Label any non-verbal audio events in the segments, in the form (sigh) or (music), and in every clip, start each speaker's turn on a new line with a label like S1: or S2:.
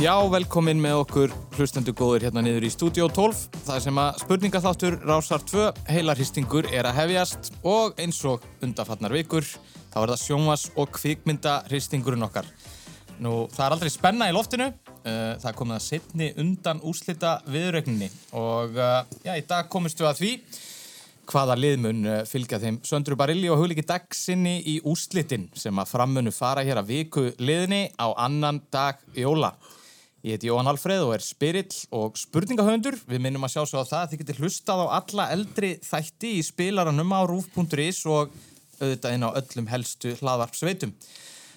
S1: Já, velkomin með okkur hlustendur góður hérna niður í Studio 12 Það sem að spurningaþáttur rásar 2 heilarhistingur er að hefjast og eins og undafarnar vikur þá er það sjónvas og kvikmyndahistingurinn okkar Nú, það er aldrei spenna í loftinu uh, Það er komið að setni undan úslita viðrögninni og uh, já, í dag komist við að því hvaða liðmun fylgja þeim Söndru Barilli og hugliki dagsinni í úslitin sem að frammunu fara hér að viku liðni á annan dag jóla. Ég heiti Jóhann Alfreð og er spirill og spurningahöndur. Við minnum að sjá svo á það að þið getur hlustað á alla eldri þætti í spilaranum á rúf.is og auðvitað inn á öllum helstu hlaðvarpsveitum.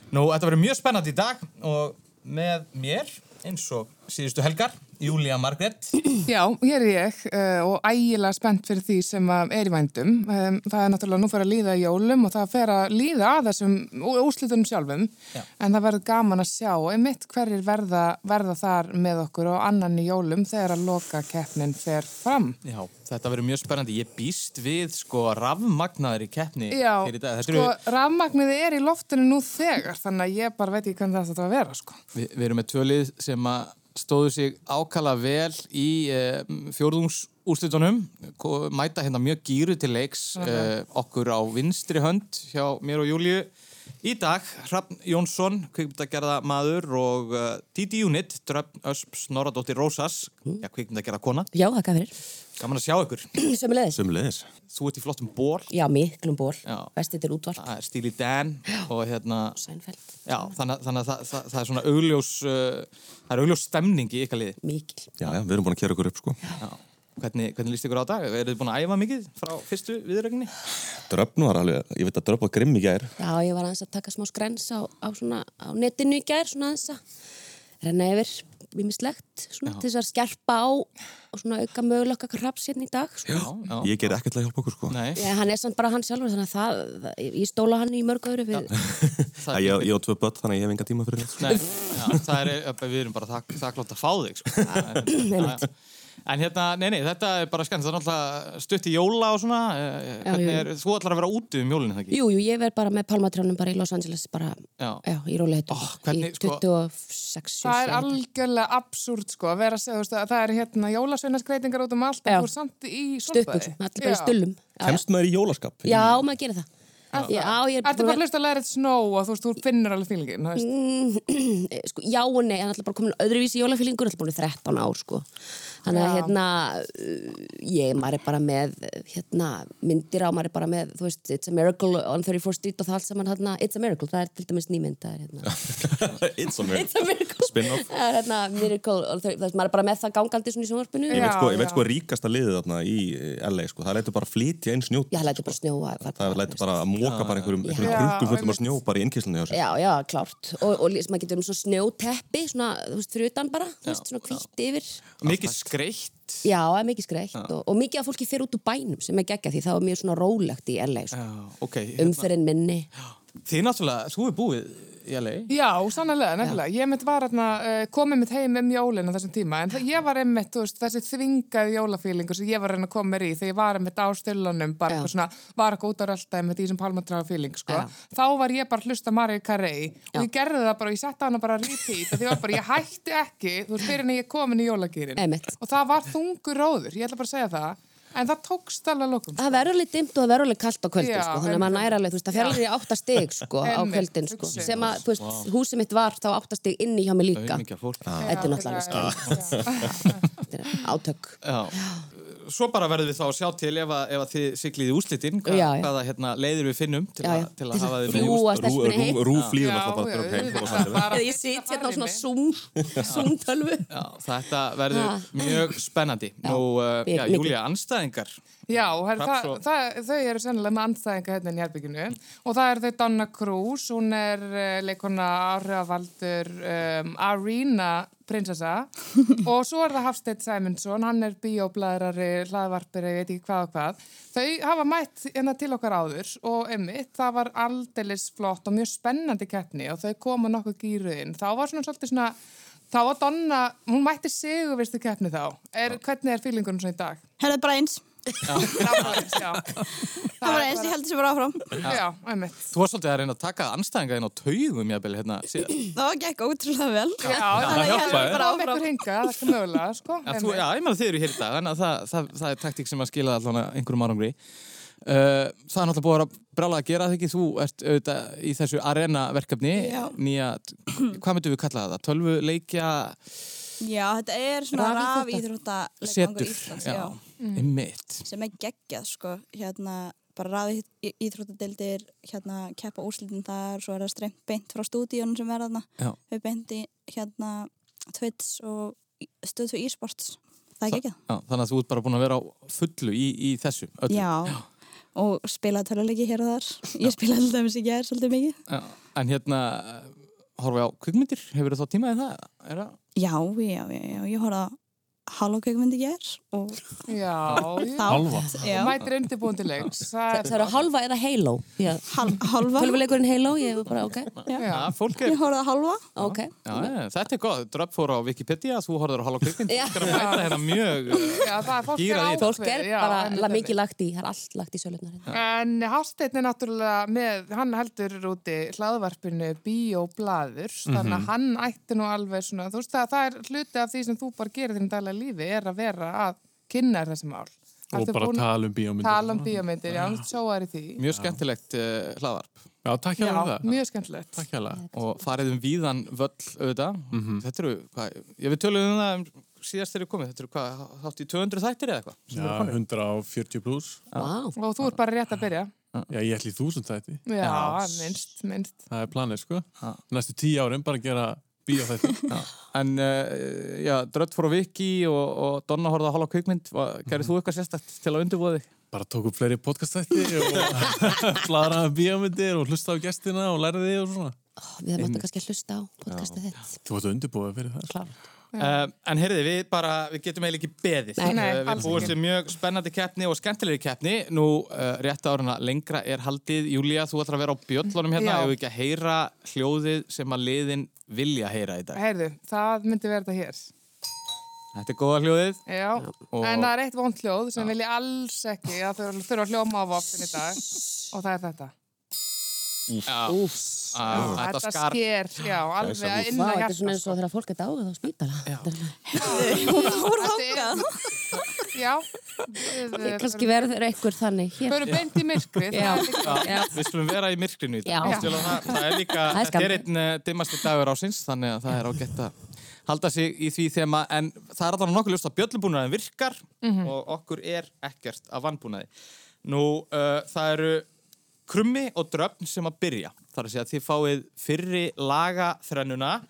S1: Nú, þetta verður mjög spennandi í dag og með mér, eins og síðustu helgar, Júlía Margrett.
S2: Já, hér er ég eh, og ægilega spennt fyrir því sem að er í vændum. Um, það er náttúrulega nú fyrir að líða í jólum og það fyrir að líða að þessum ú- úrslitunum sjálfum.
S1: Já.
S2: En það verður gaman að sjá einmitt hverjir verða, verða þar með okkur og annan í jólum þegar að loka keppnin fer fram.
S1: Já, þetta verður mjög spennandi. Ég býst við sko rafmagnaður í keppni
S2: Já,
S1: hér í dag. Þetta
S2: sko,
S1: Eru,
S2: rafmagniði er í loftinu nú þegar, þannig að ég bara veit ekki hvernig þetta á að vera, sko.
S1: við, við erum með tvölið sem að stóðu sig ákala vel í eh, fjórðungsúrslitunum. Ko- Mæta hérna mjög gýru til leiks
S2: Mhm.
S1: eh, okkur á vinstri hönd hjá mér og Júliu. Í dag, Hrafn Jónsson, kvikmyndagerða maður og uh, Titi Unit, Dröfn Ösp Snorradóttir Rósas, já, kvikmyndagerða kona.
S3: Já, þakka (clears throat) fyrir.
S1: Gaman að sjá ykkur.
S3: Sömulegðis.
S4: Sumleðis.
S1: Þú ert í flottum ból,
S3: Já, miklum ból.
S1: Já.
S3: Vestið til útvarp.
S1: það er stíli Dan og hérna
S3: Sænfeld.
S1: Já, þannig, að- þannig að það, það, það er svona augljós, uh, það er augljós stemning í ykkar liði.
S3: Mikil.
S4: Já, já, við erum búin að kera okkur upp sko.
S1: Já. Hvernig, hvernig líst ykkur á dag? Eru þið búin að æfa mikið frá fyrstu viðrögninni?
S4: Dröfn var alveg, ég veit að dröfn var grimm í gær.
S3: Já, ég var aðeins að taka smá skrens á, á, svona, á netinu í gær, svona aðeins að renna yfir vimislegt, svona til þess að skerpa á og svona auka mögulega kraps hérna í dag. Sko.
S1: Já.
S4: Ég ger ekkert til að hjálpa okkur sko.
S1: Nei.
S3: Já, hann er samt bara hann sjálfur, þannig að það, það, ég- ég stóla hann í mörg öðru við.
S1: (laughs)
S4: Æ, ég, ég á tvö börn þannig að ég hef enga tíma fyrir neitt.
S1: Nei, já, það er, við erum bara þak, þakklátt að fá þig,
S3: (laughs)
S1: sko. Það er- já, já. En hérna, nei, nei, þetta er bara skannt, það er náttúrulega stutt í jóla og svona. eh,
S3: Já,
S1: Hvernig
S3: jú.
S1: er, þú ætlar að vera úti um jólinn, það ekki?
S3: Jú, jú, ég verð bara með palmatrjónum bara í Los Angeles, bara,
S1: Já.
S3: já, í rólegheitum.
S1: Oh, hvernig,
S3: í
S1: sko-
S3: 26,
S2: Það er
S3: 27.
S2: algjörlega absúrt sko að vera að segja, þú veist, að það er hérna jólasveinarskreitingar út um allt
S3: Já.
S2: en þú er samt í
S3: Stuttbuxum, allir bara
S2: Já.
S3: í stullum. Já, já.
S4: Kemst maður í jólaskap? (laughs)
S3: Já, maður gerir það. Já, ég er
S2: Þetta er bara
S3: búin að
S2: að hlusta að læra eitt snó og þú veist, þú finnur alveg fílingin, þú veist.
S3: eh, sko, já og nei, hann er alltaf bara komin öðruvísi jólafílingur, alltaf búin í 13 ár sko. þannig að
S2: Já.
S3: hérna eh, ég, maður er bara með eh, hérna, myndir á, maður er bara með þú veist, It's a Miracle on 34th Street og það allt saman hérna, It's a Miracle, það er til dæmis nýmynd það er hérna,
S4: It's a
S3: (laughs)
S4: miracle.
S3: It's a Miracle
S4: Spin-off.
S3: það er hérna, Miracle on 30 það er- maður er bara með það gangandi svona í sjónvarpinu
S4: Ég
S2: Já.
S3: já,
S4: veit sko, ég veit sko ríkasta liðið þarna í eh, LA sko. Það lætur bara flytja inn snjó.
S3: það lætur bara snjóa
S4: Það lætur bara að móka bara einhverjum, einhverjum
S2: Já,
S4: krukkum
S2: einmitt.
S4: fullum að snjó bara í innkýrslunni hjá sér.
S3: Já, já, klárt og, og lýs- maður getur um svona snjóteppi svona, þú veist, fyrir utan bara, þú veist, svona hvítt yfir
S1: Mikið skreitt.
S3: Já, það er mikið skreitt og, og mikið af fólki fyrir út úr bænum sem er geggja því það var mjög svona rólegt í LA sko.
S1: Já, hérna. ok.
S3: umferinn minni
S1: Þið náttúrulega, þú er búið í LA.
S2: Já, sannlega, nefnilega. Ég mitt var hérna, eh, komið mitt heim um jólinn á þessum tíma, en það- ég var einmitt, þú veist, þessi þvingaði jólafílingur sem ég var að reyna að koma mér í þegar ég var einmitt á stillunum, bara
S3: Já.
S2: eitthvað svona, var eitthvað út á rölda einmitt í þessum palmatræðafíling, sko.
S3: Já.
S2: Þá var ég bara að hlusta Maríu Carey og ég gerði það bara, og ég setta hana bara að repeat, af því ég var bara, ég hætti ekki, þú veist, fyrir en ég er komin í jólagýrin.
S3: Einmitt.
S2: Og það var þungur róður, ég ætla bara að segja það, en það tókst alveg að lokum.
S1: sko.
S3: það verður alveg dimmt og það verður alveg kallt á kvöldin
S2: Já,
S3: sko. þannig að maður næra alveg, þú veist, það fer alveg í áttastig sko, á
S2: Einmitt,
S3: kvöldin sko.
S2: hugsi.
S3: sem að, þú veist, húsið mitt var þá áttastig inni hjá mig líka
S1: Mikið fólk.
S3: Ah, þetta er náttúrulega skemmt, þetta er átök
S1: Já. Eh, Svo bara verðum við þá að sjá til ef að, ef að þið siglið í úslitin hva,
S3: Já, já.
S1: hvaða hérna, leiðir við finnum til,
S3: Já, já.
S1: Að, til að hafa þið með
S3: Þrjú
S1: í úrslitin.
S3: Rúa stelpunni heim.
S4: Rú flýður
S2: Já,
S4: alltaf bara
S2: já,
S4: dröfn heim.
S2: auðvitað,
S4: bara þannig.
S2: bara-
S3: eða ég sit hérna á svona
S2: Farrinni.
S3: Zoom Zoom-tölvu
S1: Já, þetta verður
S3: Ha.
S1: mjög spennandi. Nú, uh,
S3: Mikið.
S1: já, Júlia, anstæðingar.
S2: Já, her,
S1: Hrafn
S2: það,
S1: svo-
S2: það, þau eru sennilega með andstæðinga hérna í herbygginu og það eru þau Donna Cruz, hún er uh, leikona áhrifavaldur um, Arena prinsessa og svo er það Hafsteinn Sæmundsson, hann er bíóblæðrari, hlaðvarpari, ég veit ekki hvað og hvað. Þau hafa mætt hérna til okkar áður og einmitt, það var aldeilis flott og mjög spennandi keppni og þau koma nokkuð gýruðinn. Þá var svona svolítið svona, þá var Donna, hún mætti sigurvistu keppni þá. Er, hvernig er fílingunum svo í dag?
S5: Herðu bara eins.
S2: Framvarins, já.
S5: Það var eins, ég held þessi bara áfram.
S2: Já, einmitt.
S1: Þú varst svolítið að reyna að taka anstæðinga þinn á taugum, jafnvel, hérna, síðan.
S5: Það gekk ótrúlega vel.
S2: Já,
S5: Þannig að ég held
S4: hjálpaði.
S5: bara
S2: Það er
S5: áfram.
S2: eitthvað hinga, það er ekki mögulega, sko.
S1: Já, þú,
S2: einmitt.
S1: já, ég meðan þið eru hér í dag, þannig að það, það, það er taktík sem að skila allan einhverjum árangri. Uh, það er náttúrulega búið að vera brála að gera það ekki, þú ert auðvitað í þessu arena verkefni,
S5: Já.
S1: nýja, hvað myndum við kalla það, tölvuleikja
S5: Já, þetta er svona rafíþrótta
S1: setur,
S5: Íslands,
S1: já,
S5: já.
S1: einmitt.
S5: sem er geggjað, sko, hérna bara rafíþróttadeildir hérna keppa úrslitin þar, svo er það streymt beint frá stúdíunum sem er þarna
S1: Já.
S5: við beint í hérna Twits og í- Stöð 2 e-sports það er geggjað.
S1: Já, þannig að þú ert bara búin að vera á fullu í, í þessu, öllu.
S5: Já, og spila töluleiki hér og þar ég spilaði alltaf eins og ég er svolítið mikið
S1: Já, En hérna, horfa á kvikmyndir, hefur þú þá tímaðið það? Er það?
S5: Já, já, já, já, ég horfði að Halloween ég er og
S2: Já, já.
S5: þá, já,
S2: Þú mætir undirbúin til leiks. Það er
S3: Það eru hálfa eða heiló.
S5: hal, halva
S3: Tölvuleikurinn heiló, ég var bara, ok,
S1: Já, fólk er
S5: ég horfði að halva
S3: ok.
S1: Já, já, þetta er gott. Dröpp fór á Wikipedia, þú horfður á Halló Kvikmynd.
S3: Já.
S1: Þú er að mæta hérna mjög...
S2: Já, það er fólk
S1: Gírað í
S2: er
S1: þetta.
S3: Fólk er
S2: ákveðið, já,
S3: bara
S2: einmitt,
S3: la-
S2: einmitt.
S3: mikið lagt í, það er allt lagt í sölunar hérna.
S2: En Hafsteinn er náttúrulega með, hann heldur úti hlaðvarpinu Bíoblaður, þannig að hann ætti nú alveg svona, þú veist það, það er hluti af því sem þú bara gerir þínu dæla lífi er að vera að kynna þessi mál.
S6: Og
S2: Ertu
S6: bara
S2: búin-
S6: tala um bíómyndir.
S2: Tala um bíómyndir, já, sjóar í því.
S1: Mjög skemmtilegt uh, hlaðvarp
S6: Já, takk hjá
S2: Já,
S6: það.
S2: mjög skemmtilegt.
S6: Takk hjá það.
S1: og farið um víðan völl auðvitað. Þetta eru, hvað, ég við tölum um það um síðast þegar ég komið, þetta eru hvað, hátt í 200 þættir eða eitthvað?
S6: Já, 140 pluss.
S3: Vá,
S2: Og þú ert bara rétt að byrja.
S6: Já, ég ætli í þúsund þætti.
S2: Já,
S1: Já.
S2: minnst, minnst.
S6: Það er planið, sko. Næstu tíu árum bara að gera bíó þætti.
S1: En uh, já, Drött fór á Viki og, og Donna horfði á Halló Kvikmynd. Gerðið þú eitthvað sérstakt til að undirbúa þig?
S6: Bara tók upp fleiri podcast þætti og (laughs) bladraði um bíómyndir og hlusta á gestina og lærði og svona.
S3: við hefum alltaf kannski að hlusta á podcastið þitt.
S6: Þú ættu undirbúið fyrir það.
S3: Klart.
S1: Uh, en heyrði, við bara, við getum eiginlega ekki beðið.
S3: Nei.
S2: Nei,
S1: Eh, við
S2: alls
S1: búumst
S2: ekki.
S1: við mjög spennandi keppni og skemmtilegri keppni. Nú, uh, rétt áruna lengra er haldið. Júlía, þú ætlar að vera á bjöllunum hérna.
S2: Já.
S1: Ég vil ekki að heyra hljóðið sem að liðin vilja heyra í dag.
S2: Heyrðu, það myndi vera þetta hér.
S1: Þetta er góða hljóðið.
S2: Já,
S1: Og-
S2: en það er eitt vond hljóð sem vil ég alls ekki að þau þurfa að hljóma á vopnin í dag og það er þetta.
S3: Úf,
S1: Uh, þetta
S2: þetta
S1: skar.
S2: sker, já, alveg að inna
S3: vá, þetta er svona
S2: hjarta.
S3: eins og þegar fólk er dáið á spítala. Þetta er-
S2: Þetta er- Já, við
S3: Kannski verður einhver þannig hér.
S2: förum beint í myrkrið.
S3: Já,
S2: það er líka-
S3: já.
S1: Við skulum vera í myrkrinu í dag.
S3: Já.
S1: Ég skil að Það, það er líka,
S3: Það er
S1: þetta er
S3: skammt.
S1: einn eh, dimmasti dagur ásins, þannig að það er ágætt að halda sig í því þema, en það er alveg nokkuð ljóst að bjöllubúnaðin virkar
S3: Mhm.
S1: og okkur er ekkert að vannbúnaði. Nú, uh, það eru krummi og dröfn sem að byrja. Það er að segja að þið fáið fyrri laga þrennuna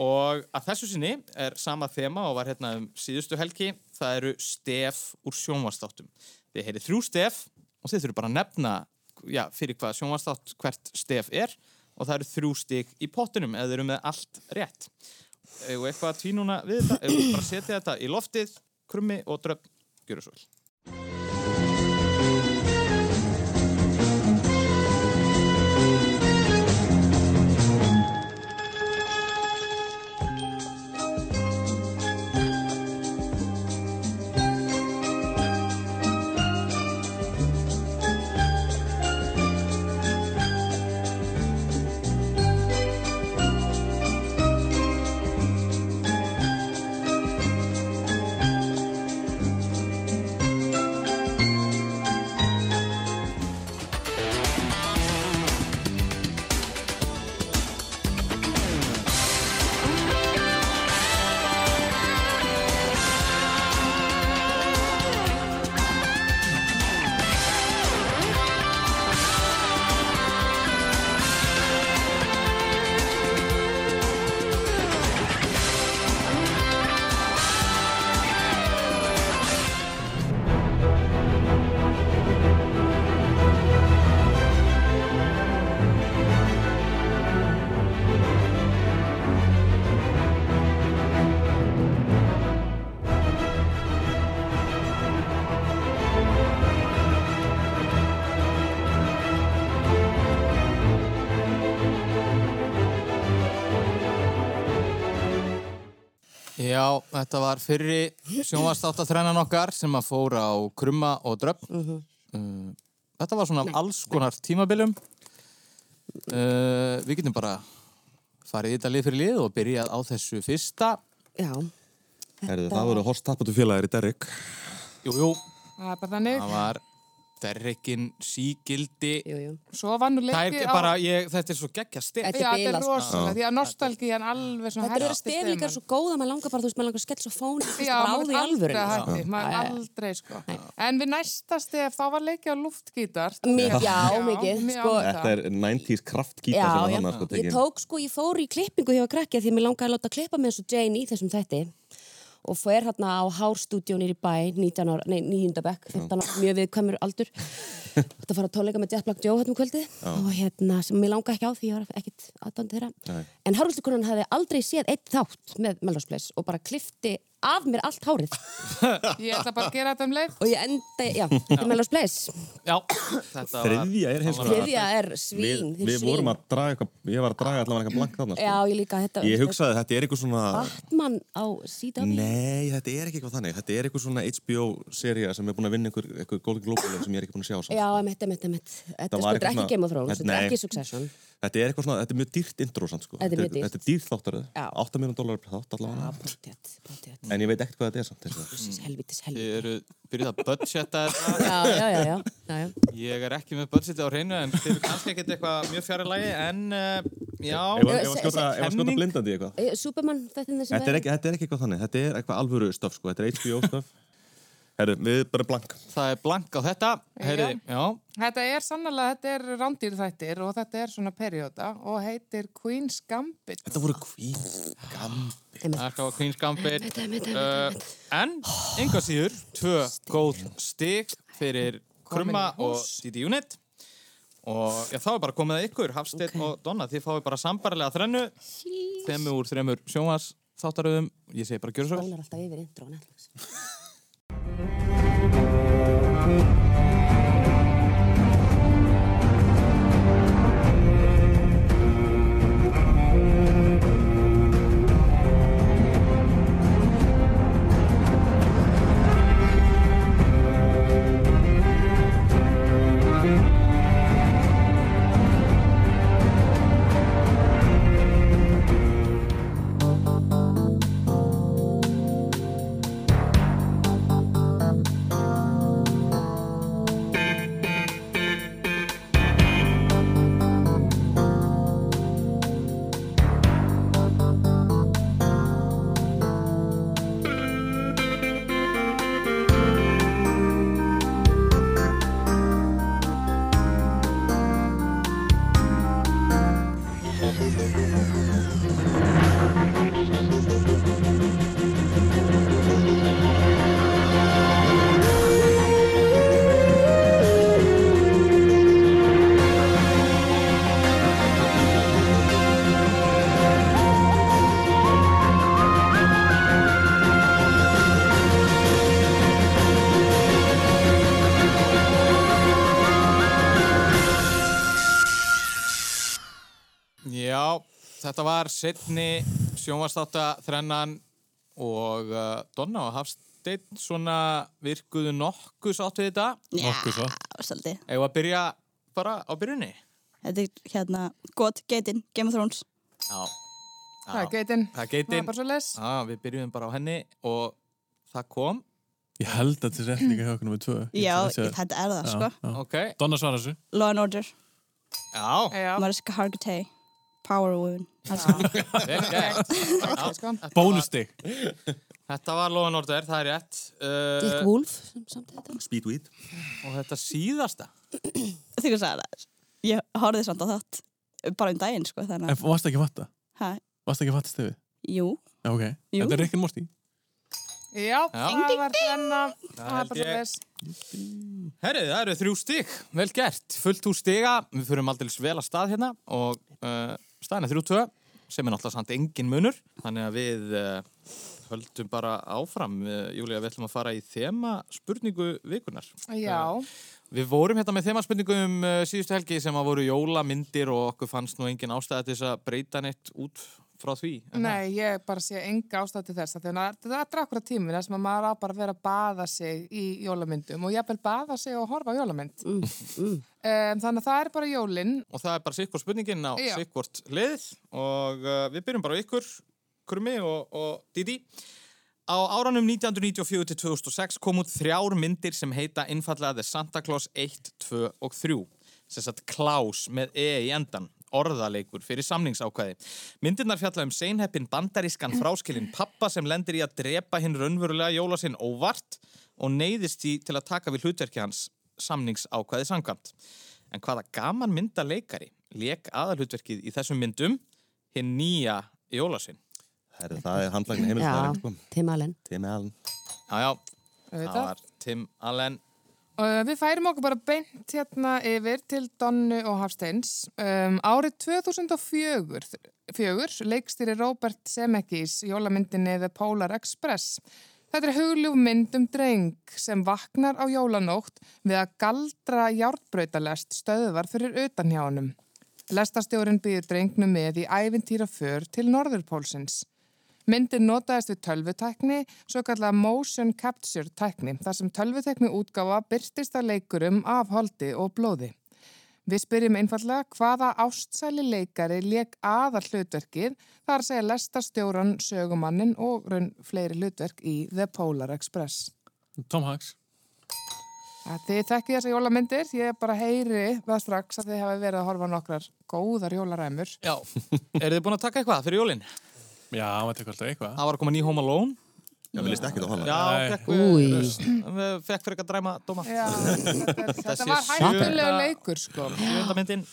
S1: og að þessu sinni er sama þema og var hérna um síðustu helgi. Það eru stef úr sjónvastáttum. Þið heyrið þrjú stef og þið þurfum bara að nefna já, fyrir hvað sjónvastátt hvert stef er og það eru þrjú stig í pottinum eða þið eru með allt rétt. Eða eitthvað að tvínuna við þetta, eða bara setja þetta í loftið, krummi og dröfn, gjöru svo vel. Já, þetta var fyrri sjónvarstáttaþrennan okkar sem að fóra á krumma og dröpp. Mm þetta var svona alls konar tímabilum. Uh, við getum bara farið í þetta lið fyrir lið og byrjað á þessu fyrsta.
S3: Já,
S4: Herðu, það voru horst tappatu félagir í Derrick.
S1: Jú, jú,
S2: Það er bara þannig.
S1: það var derrekin sígildi.
S3: jú, jú.
S2: Svo var nú
S1: Það er
S2: leikið
S1: bara, ég, þetta er svo geggja stef.
S3: Þetta
S2: Já,
S3: er
S2: þetta er
S3: bilað, sko.
S2: rosalega, því að nostalgíjan alveg svona
S3: Þetta eru
S2: hertist
S3: stef
S2: um
S3: líka
S2: hann.
S3: svo góða, maður langar bara, þú veist, maður langar að skella svo fón, þú veist,
S2: Já,
S3: bara á
S2: maður
S3: því alvöru.
S2: aldrei hætti, maður aldrei sko. En við næsta stef, þá var leikið á luftgítar.
S3: Mikið, já, mikið,
S2: mjög
S3: sko.
S2: ánægð
S4: Þetta
S2: það.
S4: er 90s kraftgíta
S3: Já,
S4: sem var
S3: já,
S4: þannig að sko
S3: ég
S4: tekin.
S3: tók sko, ég fór í klippingu hjá krakkja því að mér langaði að láta klippa með eins og Jane í þessum þætti og fór hérna á hárstúdjón í bæ 19 ára, nei, 9. bekk 15 ára, mjög viðkvæmur
S4: (laughs)
S3: aldur þetta fara að tónleika með Jet Black Joe hérna um kvöldið og hérna, sem mér langaði ekki á því ég var ekkit aðdóndi þeirra
S4: Nei.
S3: en hárhuldukonan hefði aldrei séð eitt þátt með Melrose Place og bara klifti af mér allt hárið
S2: Ég ætla bara að gera þetta um leið.
S3: og ég enda,
S4: (laughs)
S3: já, í Melrose Place
S1: Já, þetta var...
S4: Þriðja er hins vegar.
S3: þriðja er
S4: Við,
S3: svín, þið
S4: við
S3: svín.
S4: vorum að draga eitthvað, ég var að draga allavega eitthvað blank þarna.
S3: já,
S4: Sko.
S3: ég líka, þetta
S4: Ég hugsaði þetta er eitthvað svona,
S3: Batman á CW
S4: nei þetta er ekki eitthvað þannig, þetta er eitthvað svona HBO-sería sem er búin að vinna einhver, einhver Golden Globe Award sem ég er ekki búin að sjá samt.
S3: Já, emitt, emitt, emitt. Þetta er
S4: Það
S3: sko, þetta er
S4: var eitthvað
S3: ekki
S4: svona-
S3: Game of Thrones, þetta er
S4: Nei.
S3: ekki Succession.
S4: Þetta er eitthvað svona, þetta er mjög dýrt intro samt sko.
S3: Þetta er mjög dýrt.
S4: Þetta er dýrt þáttaröð,
S3: Já.
S4: 8 miljonar dólar per þátt
S3: Já,
S4: allavega.
S3: pottétt, pottétt.
S4: En ég veit ekkert hvað þetta er samt. hins vegar.
S3: Helvitis, helvitis.
S1: Þið eru byrjuð að budgeta þetta.
S3: Já, já, já, já. já, já.
S1: Ég er ekki með budgeti á hreinu en þið eru kannski ekkert eitthvað mjög fjarr í lagi en uh, já,
S4: Ef að- ef að
S3: se-
S4: skjóta- ef að skjóta
S1: Kenning?
S4: blindandi í eitthvað.
S3: Eh, Superman, þetta er þessi
S4: Þetta er, ekki, þetta er ekki eitthvað þannig, þetta er eitthvað alvöru stöf sko, þetta er HBO stöf Herru, við bara blank
S1: það er blank á þetta. Heyriði, já,
S2: Þetta er sannlega, þetta er rándýrþættir og þetta er svona perióta og heitir Queen's Gambit.
S4: Þetta voru kvín gambi
S1: Það er skáða Queen's Gambit uh, En, enga síður, tvö góð stig fyrir Krumma
S2: Komin í
S1: og
S2: hús.
S1: Didi Unit og já, þá er bara komið að ykkur Hafsteinn
S3: Ok.
S1: og Donna, þið fáið bara sambarlega þrennu þemu úr þremur sjónvars þáttaröðum, ég segi bara gjöra svo vel.
S3: Bólar alltaf yfir intro, Netflix.
S4: Eh.
S1: Já, þetta var setni sjónvarstáta þrennan og uh, Donna og Hafsteinn svona virkuðu nokkuð sátt við þetta
S6: Nokkuð svo.
S5: svolítið.
S1: Eða að byrja bara á byrjunni
S5: Þetta er hérna, gott geitin, Game of Thrones.
S1: Já,
S2: Það er geitin.
S1: það er
S2: Það er
S1: geitin
S2: bara svo les.
S1: Já, við byrjuðum bara á henni og það kom
S6: Ég held að þetta er rétt líka hjá okkur með tvö. Ég
S5: Já,
S6: held að sé-
S5: þetta er það, sko.
S6: Já, já.
S1: Ok,
S6: Donna svarar þessu.
S5: Law and Order,
S2: (laughs)
S1: já,
S2: Já,
S5: Mariska Hargitay, Power Woman. Alls
S1: vel gert
S2: það er sko.
S6: Bónustig.
S1: Þetta var Lóðan Order, það er rétt
S3: Dick
S1: uh,
S3: Wolf, sem samt þetta.
S4: Speedweed
S1: Og þetta síðasta
S5: Þegar sagði það, ég horfði samt á þátt bara um daginn, sko, þannig
S6: En
S5: að,
S6: varst ekki að fatta?
S5: hæ,
S6: Varst ekki að fatta stefið?
S5: jú,
S6: Já, ok.
S5: Jú.
S6: Þetta er Rick and Morty.
S2: Já, það var þennan. Það er
S1: held
S2: bara svo
S1: ég.
S2: les.
S1: Herrið, það eru þrjú stig, vel gert, fullt úr stiga, við fyrum aldrei vel að stað hérna og uh, staðin er þrjú tvö sem er náttúrulega samt engin munur, þannig að við uh, höldum bara áfram, uh, Júlía, við ætlum að fara í þema spurningu Uh, vikunar.
S2: Já,
S1: Við vorum hérna með þema spurningu um uh, síðustu helgi sem að voru jólamyndir og okkur fannst nú engin ástæða til þess að breyta neitt út frá því? en
S2: Nei, ég bara sé enga ástæð til þess að þegar það er akkurat tíminn þar sem að maður á bara að vera að baða sig í jólamyndum og jafnvel baða sig og horfa á jólamynd. Mm, þannig að það er bara jólin.
S1: það- Og það er bara sikkur spurningin á
S2: Já.
S1: sikkvort lið og uh, við byrjum bara á ykkur, Krumi og, og Didi. Á áranum 1994 til 2006 kom út þrjár myndir sem heita innfallega The Santa Claus 1, 2 og 3. Sem sagt Klaus með E í endan orðaleikur fyrir samningsákvæði. Myndirnar fjalla um seinheppin bandarískan fráskilin pappa sem lendir í að drepa hinn raunverulega jólasinn óvart og neyðist því til að taka við hlutverki hans samningsákvæði samkvæmt. En hvaða gaman mynda leikari leik aðalhutverkið í þessum myndum hinn nýja jólasinn?
S4: Herri, það er handlagin
S3: Já,
S4: heimilsmaðurinn, sko.
S3: Tim Allen.
S4: Tim Allen.
S1: Já, já, það
S2: auðvitað.
S1: var Tim Allen
S2: Uh, við færum okkur bara beint hérna yfir til Donnu og Hafsteins. Um, árið 2004 fjögur, leikstýri Robert Zemeckis í jólamyndinni The Polar Express. Þetta er hugljúf mynd um dreng sem vaknar á jólanótt við að galdra járnbrautalest stöðvar fyrir utan hjá honum. Lestastjórin býður drengnum með í ævintýra för til Norðurpólsins. Myndin notaðist við tölvutækni, svo kallað motion capture tækni, þar sem tölvutækni útgáfa byrtist að leikurum af holdi og blóði. Við spyrjum einfallega hvaða ástsæli leikari leik aðar hlutverkið, þar segja lesta stjóran, sögumannin og raun fleiri hlutverk í The Polar Express.
S6: Tom Hanks
S2: Að þið þekkið þessa jólamyndir, ég bara heyri það strax að þið hafi verið að horfa á nokkrar góðar jólaræmur.
S1: Já, eru þið búin að taka eitthvað fyrir jólinn?
S6: Já, hann var tekur alltaf eitthvað
S1: Það var að koma ný Home Alone
S4: Já, við líst ekki á hana.
S1: Já,
S6: Nei.
S1: fekk,
S3: Új.
S1: við- fekk fyrir eitthvað dræma dóma
S2: Já, þetta, er- þetta
S1: Þessi
S2: var
S1: sjö-
S2: hættulegu leikur sko.
S1: Sjöfunda myndin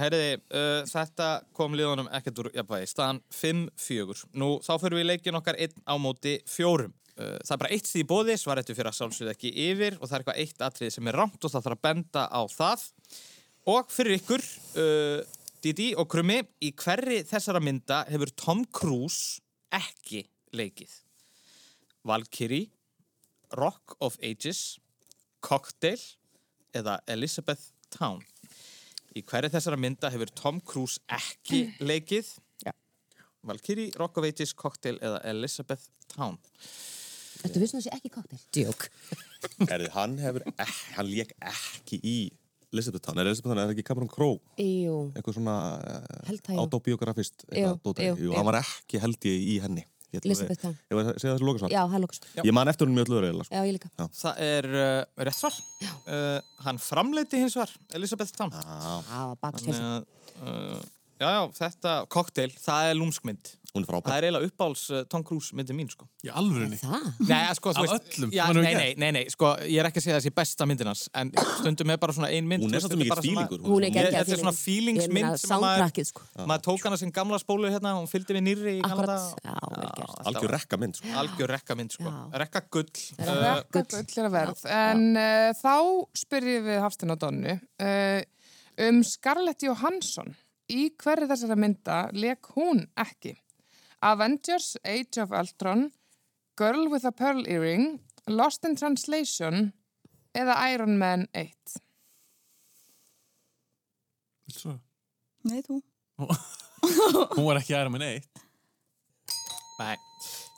S1: Heyriði, uh, þetta kom liðunum ekkert úr jafnvægi Staðan 5-4 Nú, þá fyrir við í leikin okkar einn á móti fjórum uh, Það er bara eitt því bóði Svarættu fyrir að sálsögðu ekki yfir Og það er eitthvað eitt atrið sem er rámt Og það þarf að benda á það Og fyrir ykkur uh, Didi og Krummi Í hverri þessara mynda hefur Tom Cruise ekki leikið Valkyrie Rock of Ages Cocktail eða Elizabeth Town Í hverju þessara mynda hefur Tom Cruise
S3: (clears throat)
S1: ekki leikið?
S3: Já.
S1: Valkyrie, Rock of Ages, Cocktail eða Elizabeth Town.
S3: Þetta vissum þessi ekki koktel. Djók.
S4: Herri, hann hefur, ek, hann lék ekki í Elizabeth Town. Er Elizabeth Town, er það ekki Cameron Crowe?
S3: Jú.
S4: Eitthvað svona
S3: Held
S4: uh,
S3: það, jú.
S4: autobiografist.
S3: Jú,
S4: Jú, jú,
S3: jú,
S4: jú.
S3: jú.
S4: Hann var ekki held ég í henni. Ég ætla að-
S3: Elizabeth Town.
S4: Ég var að segja þessi lokasvar.
S3: Já, það lókast.
S4: Ég man eftir hún mjög öllur eiginlega,
S3: Já,
S4: sko.
S3: ég líka.
S1: Það er uh, rétt svar. Uh, hann framleiti hins var, Elizabeth Town.
S3: Ah. Það var
S1: Þannig
S3: babskelsa.
S1: að, uh, já, já, þetta, Cocktail, það er lúmskmynd.
S4: Hún er
S1: Það
S4: frábær.
S1: er eiginlega uppáls uh, Tom Cruise myndi mín, sko.
S6: Í alvörunni
S3: Það?
S1: Nei, eh, sko, þú
S6: Af
S1: veist.
S6: öllum
S1: Já,
S6: sem hann
S1: nei,
S6: hefur
S1: nei, nei, nei, sko, ég er ekki að segja þessi besta myndin hans, en stundum er bara svona ein mynd.
S4: Hún
S1: þú
S4: er
S1: veist,
S4: svolítið
S1: þetta
S4: mikill
S1: bara svona-
S4: fílingur.
S3: Hún er
S1: Ég-
S3: geggjað
S1: Þetta er svona feelingsmynd sem að maður-
S3: Sándrakið,
S4: (laughs)
S3: sko.
S1: Maður tók hana sem gamla spólu hérna, hún fylgdi við nýrri í gamla
S3: Akkurat.
S1: daga.
S3: Já, vel gert.
S4: Algjör rekka mynd, sko.
S1: algjör rekka mynd sko.
S3: Já.
S1: rekka gull uh,
S2: Rekka gull er að verð. En uh, þá spyrjum við Hafstinn og Donnu uh, um Scarlett Johansson. Í hverju þessara mynda leik hún ekki? Avengers, Age of Ultron, Girl with a Pearl Earring, Lost in Translation eða Iron Man 1?
S6: Svo.
S5: Nei, þú.
S6: Hún var ekki æra með neitt
S1: uh, nei.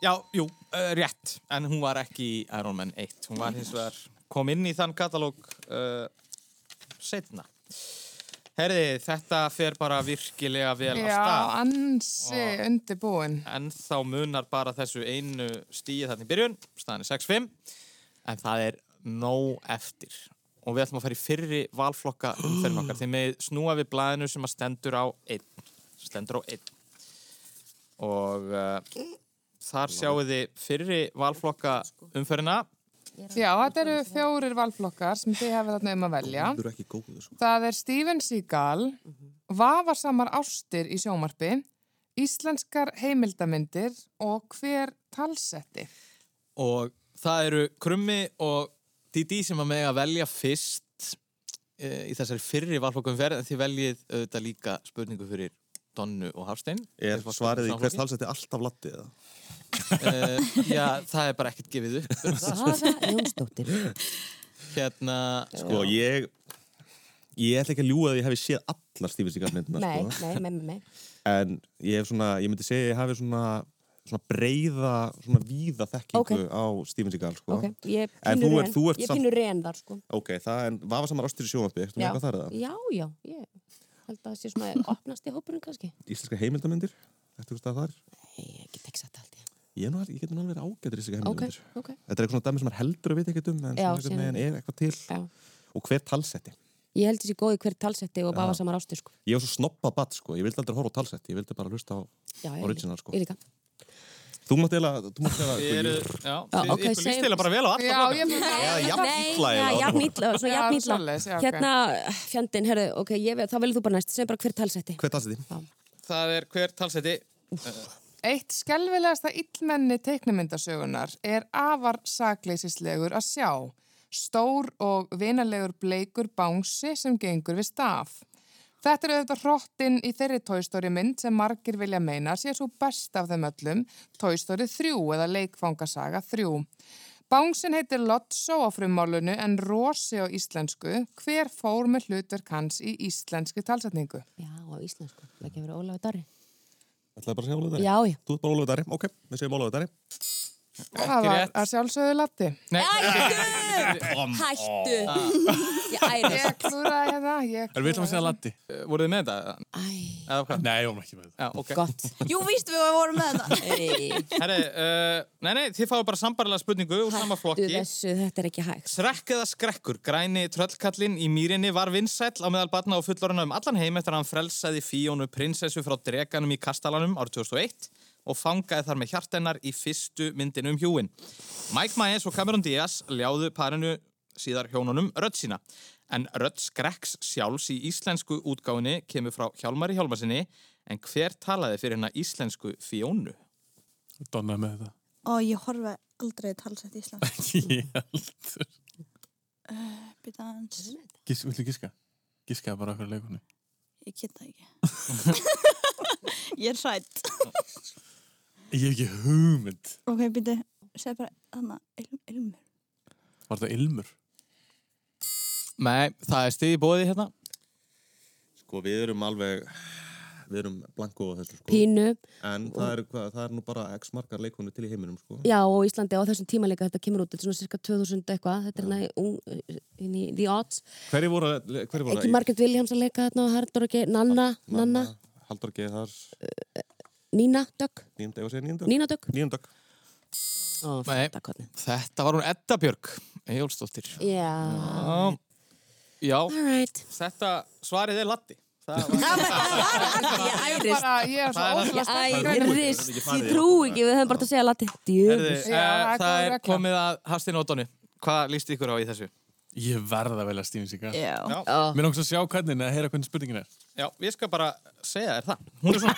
S1: já, jú, uh, rétt en hún var ekki í Iron Man 1 hún var hins vegar, kom inn í þann katalóg uh, setna herði, þetta fer bara virkilega vel að
S2: Já,
S1: stað
S2: ansi undirbúin.
S1: en þá munar bara þessu einu stíi þarna í byrjun, staðan er 6-5 en það er nóg eftir og við ætlum að fara í fyrri valflokka umferðin okkar því með snúa við blaðinu sem að stendur á einn sem stendur á einn og uh, þar sjáum þið fyrri valflokka umferðina
S2: Já, þetta eru fjórir valflokkar sem þið hefur þarna um að velja.
S4: Þú eru ekki góð, sko.
S2: Það er Steven Seagal, Vafasamar ástir í sjómarpi, Íslenskar heimildamindir og hver talsetti.
S1: og það eru Krummi og Didi sem að með að velja fyrst uh, í þessari fyrri valflokka umferð en þið veljið auðvitað líka spurningu fyrir Donnu og Hafstein
S4: Er
S1: Þeir fá
S4: svarið í
S1: spurningu frá
S4: hvers
S1: fólki.
S4: talsætti alltaf lattið, eða?
S1: Eh, já, það er bara ekkert gefið upp (laughs)
S3: Saga Jónsdóttir.
S1: hérna,
S4: Sko, ég, Ég ætla ekki að ljúga að ég hefði séð allar Steven Seagal myndina
S3: Nei,
S4: sko.
S3: nei, nei, nei, nei.
S4: En ég hef svona, ég myndi segja að ég hafi svona, svona breyða, svona víða þekkingu
S3: Ókei.
S4: á Steven Seagal sko.
S3: Ok, ég
S4: En
S3: pínu
S4: þú ert-
S3: ren.
S4: þú ert
S3: Ég
S4: samt-
S3: pínu ren þar, sko.
S4: Ok, það en vafa samar ástur í sjónvarpi, eftir með
S3: Já.
S4: eitthvað þar eða?
S3: Já, já, ég held að það sé
S4: (laughs)
S3: svona opnast í hópurinn kannski.
S4: Íslenska heimildamindir, eftir eitthvað þar?
S3: Nei, ég get ekki sagt allt í það.
S4: Ég, er nú al- ég get nú alveg verið ágættur í íslenska
S3: Ok,
S4: heimildamindir.
S3: ok.
S4: Þetta er eitthvað svona dæmi sem er heldur að vita ekkert um, en
S3: Já, síðan-
S4: svona einhvern veginn er eitthvað til.
S3: Já.
S4: Og hver talsetti?
S3: Ég held þessi góði hver talsetti og bafa samar ástur, sko.
S4: Ég var svo snoppa batt, sko. Ég vildi aldrei horfa á talsetti, ég vildi bara hlusta á...
S3: Já, ég líka.
S4: Original, sko.
S3: Ég líka.
S4: Þú mátt eiginlega, þú mátt eiginlega...
S1: Þið eru, já,
S3: Já,
S1: þið-
S3: ok,
S1: ykkur líst
S3: segjum-
S1: eiginlega bara vel á alla
S2: Já,
S1: flokkana.
S2: ég fyrir
S3: Nei,
S4: já, jafn illa
S3: já,
S4: eiginlega.
S3: jafn illa,
S2: Já,
S3: svona jafn illa.
S2: svoleiðis, já, ok.
S3: Hérna, fjandinn, herru, ok, ég veit, þá velur þú bara næst, sem bara hver talsetti.
S4: Hver talsetti?
S1: Það er hver talseti
S2: Eitt skelfilegasta illmenni teiknumyndasögunar er afar sakleisislegur að sjá. Stór og vinalegur bleikur bánsi sem gengur við staf. Þetta er auðvitað hrottinn í þeirri tóistóri mynd sem margir vilja meina sé svo best af þeim öllum, tóistóri 3 eða leikfangasaga 3. Bángsin heitir Lotso á frumálunu en Rósi á íslensku, hver fór með hlutverk hans í íslenski talsetningu?
S3: Já, á íslensku. Það ekki verið Ólafur Darri.
S4: Ætlaði bara að segja Ólafur Darri?
S3: Já, já.
S4: Þú ert bara Ólafur Darri, ok, við segjum Ólafur Darri.
S2: Það var
S1: rétt.
S2: að sjálfsögðu latti.
S1: Nei,
S3: Hættu! Hættu! Ég
S2: Ég
S3: ærist.
S2: klúraði hérna, ég
S6: En við ætlum að segja Latti.
S1: e, voruð þið með þetta?
S3: Æ,
S1: Eða hvað?
S6: Nei, hún er ekki með þetta.
S1: Já, ok.
S3: gott.
S5: Jú, víst við vorum með þetta.
S3: Æ,
S1: Herri, uh, nei, nei, þið fáið bara sambarlega spurningu úr sama
S3: Hættu
S1: flokki.
S3: þessu, þetta er ekki hægt.
S1: Srekk eða skrekkur, græni tröllkallinn í mýrinni var vinsæll á meðal batna og fullorina um allan heim eftir að hann frelsaði Fíónu prinsessu frá dreganum í Kastalanum árið 2001 og fangaði þar með hjartennar í fyrstu myndinu um hjúin. Mike Myers og Cameron Diaz ljáðu parinu síðar hjónunum rödd sína. En rödd skrekks sjálfs í íslensku útgáfinni kemur frá Hjálmari Hjálmarsinni en hver talaði fyrir hennar íslensku Fíónu?
S6: Donna er með þetta.
S5: Ó, ég horfa aldrei talsett í Íslands.
S6: Ég heldur.
S5: Býta aðeins.
S6: Gís, villu giska? Giska bara okkur leikunni.
S5: Ég get það ekki. (laughs) ég er hrætt.
S6: Ég hef ekki hugmynd.
S5: Ok, býta, segð bara þannig, ilm, ilmur.
S6: Var þetta ilmur?
S1: Nei, það er stið í bóði hérna.
S4: Sko, við erum alveg, við erum blanko á þessu, sko.
S3: Pínu.
S4: En það er, hvað, það er nú bara x margar leikonu til í heiminum, sko.
S3: Já, og Íslandi á þessum tímalega þetta kemur út, þetta er svona cirka 2000 eitthvað, þetta er hérna í ung- inn í The Odds.
S4: Hverju voru, hverju voru
S3: Ekki Margaret Williams að leika þarna og Haraldur ekki, Nanna, Ah, Nanna,
S4: Haldur G. Þars,
S3: Nína Dögg,
S4: nýjum dag, ég var að segja nýjum dag?
S3: Nína Dögg.
S4: Nýjum dag.
S3: Ó,
S1: Nei.
S3: þetta hvernig.
S1: Þetta var hún Edda Björg, Jólstóttir.
S3: Já,
S1: Já, já
S3: alright.
S1: þetta svarið er Latti. Það var,
S3: Ég
S2: hérna. Ég
S3: ærist,
S2: bara, ég er svo
S1: Það er-
S2: ótrúlega
S3: ég
S2: spennt.
S3: ærist, ég trú ekki, við höfum bara átt að segja lati.
S1: Herði,
S3: Djöfus.
S1: já, eh, það
S2: það er góð
S1: er
S2: regla.
S1: komið að Hafstin Ótonu. Hvað líst ykkur á í þessu?
S6: Ég verða vel að Steven Seagal.
S5: Já.
S3: Ó,
S6: Mér langs að sjá hvernig en að heyra hvernig spurningin er.
S1: Já, ég skal bara segja þér það. Hún er svona...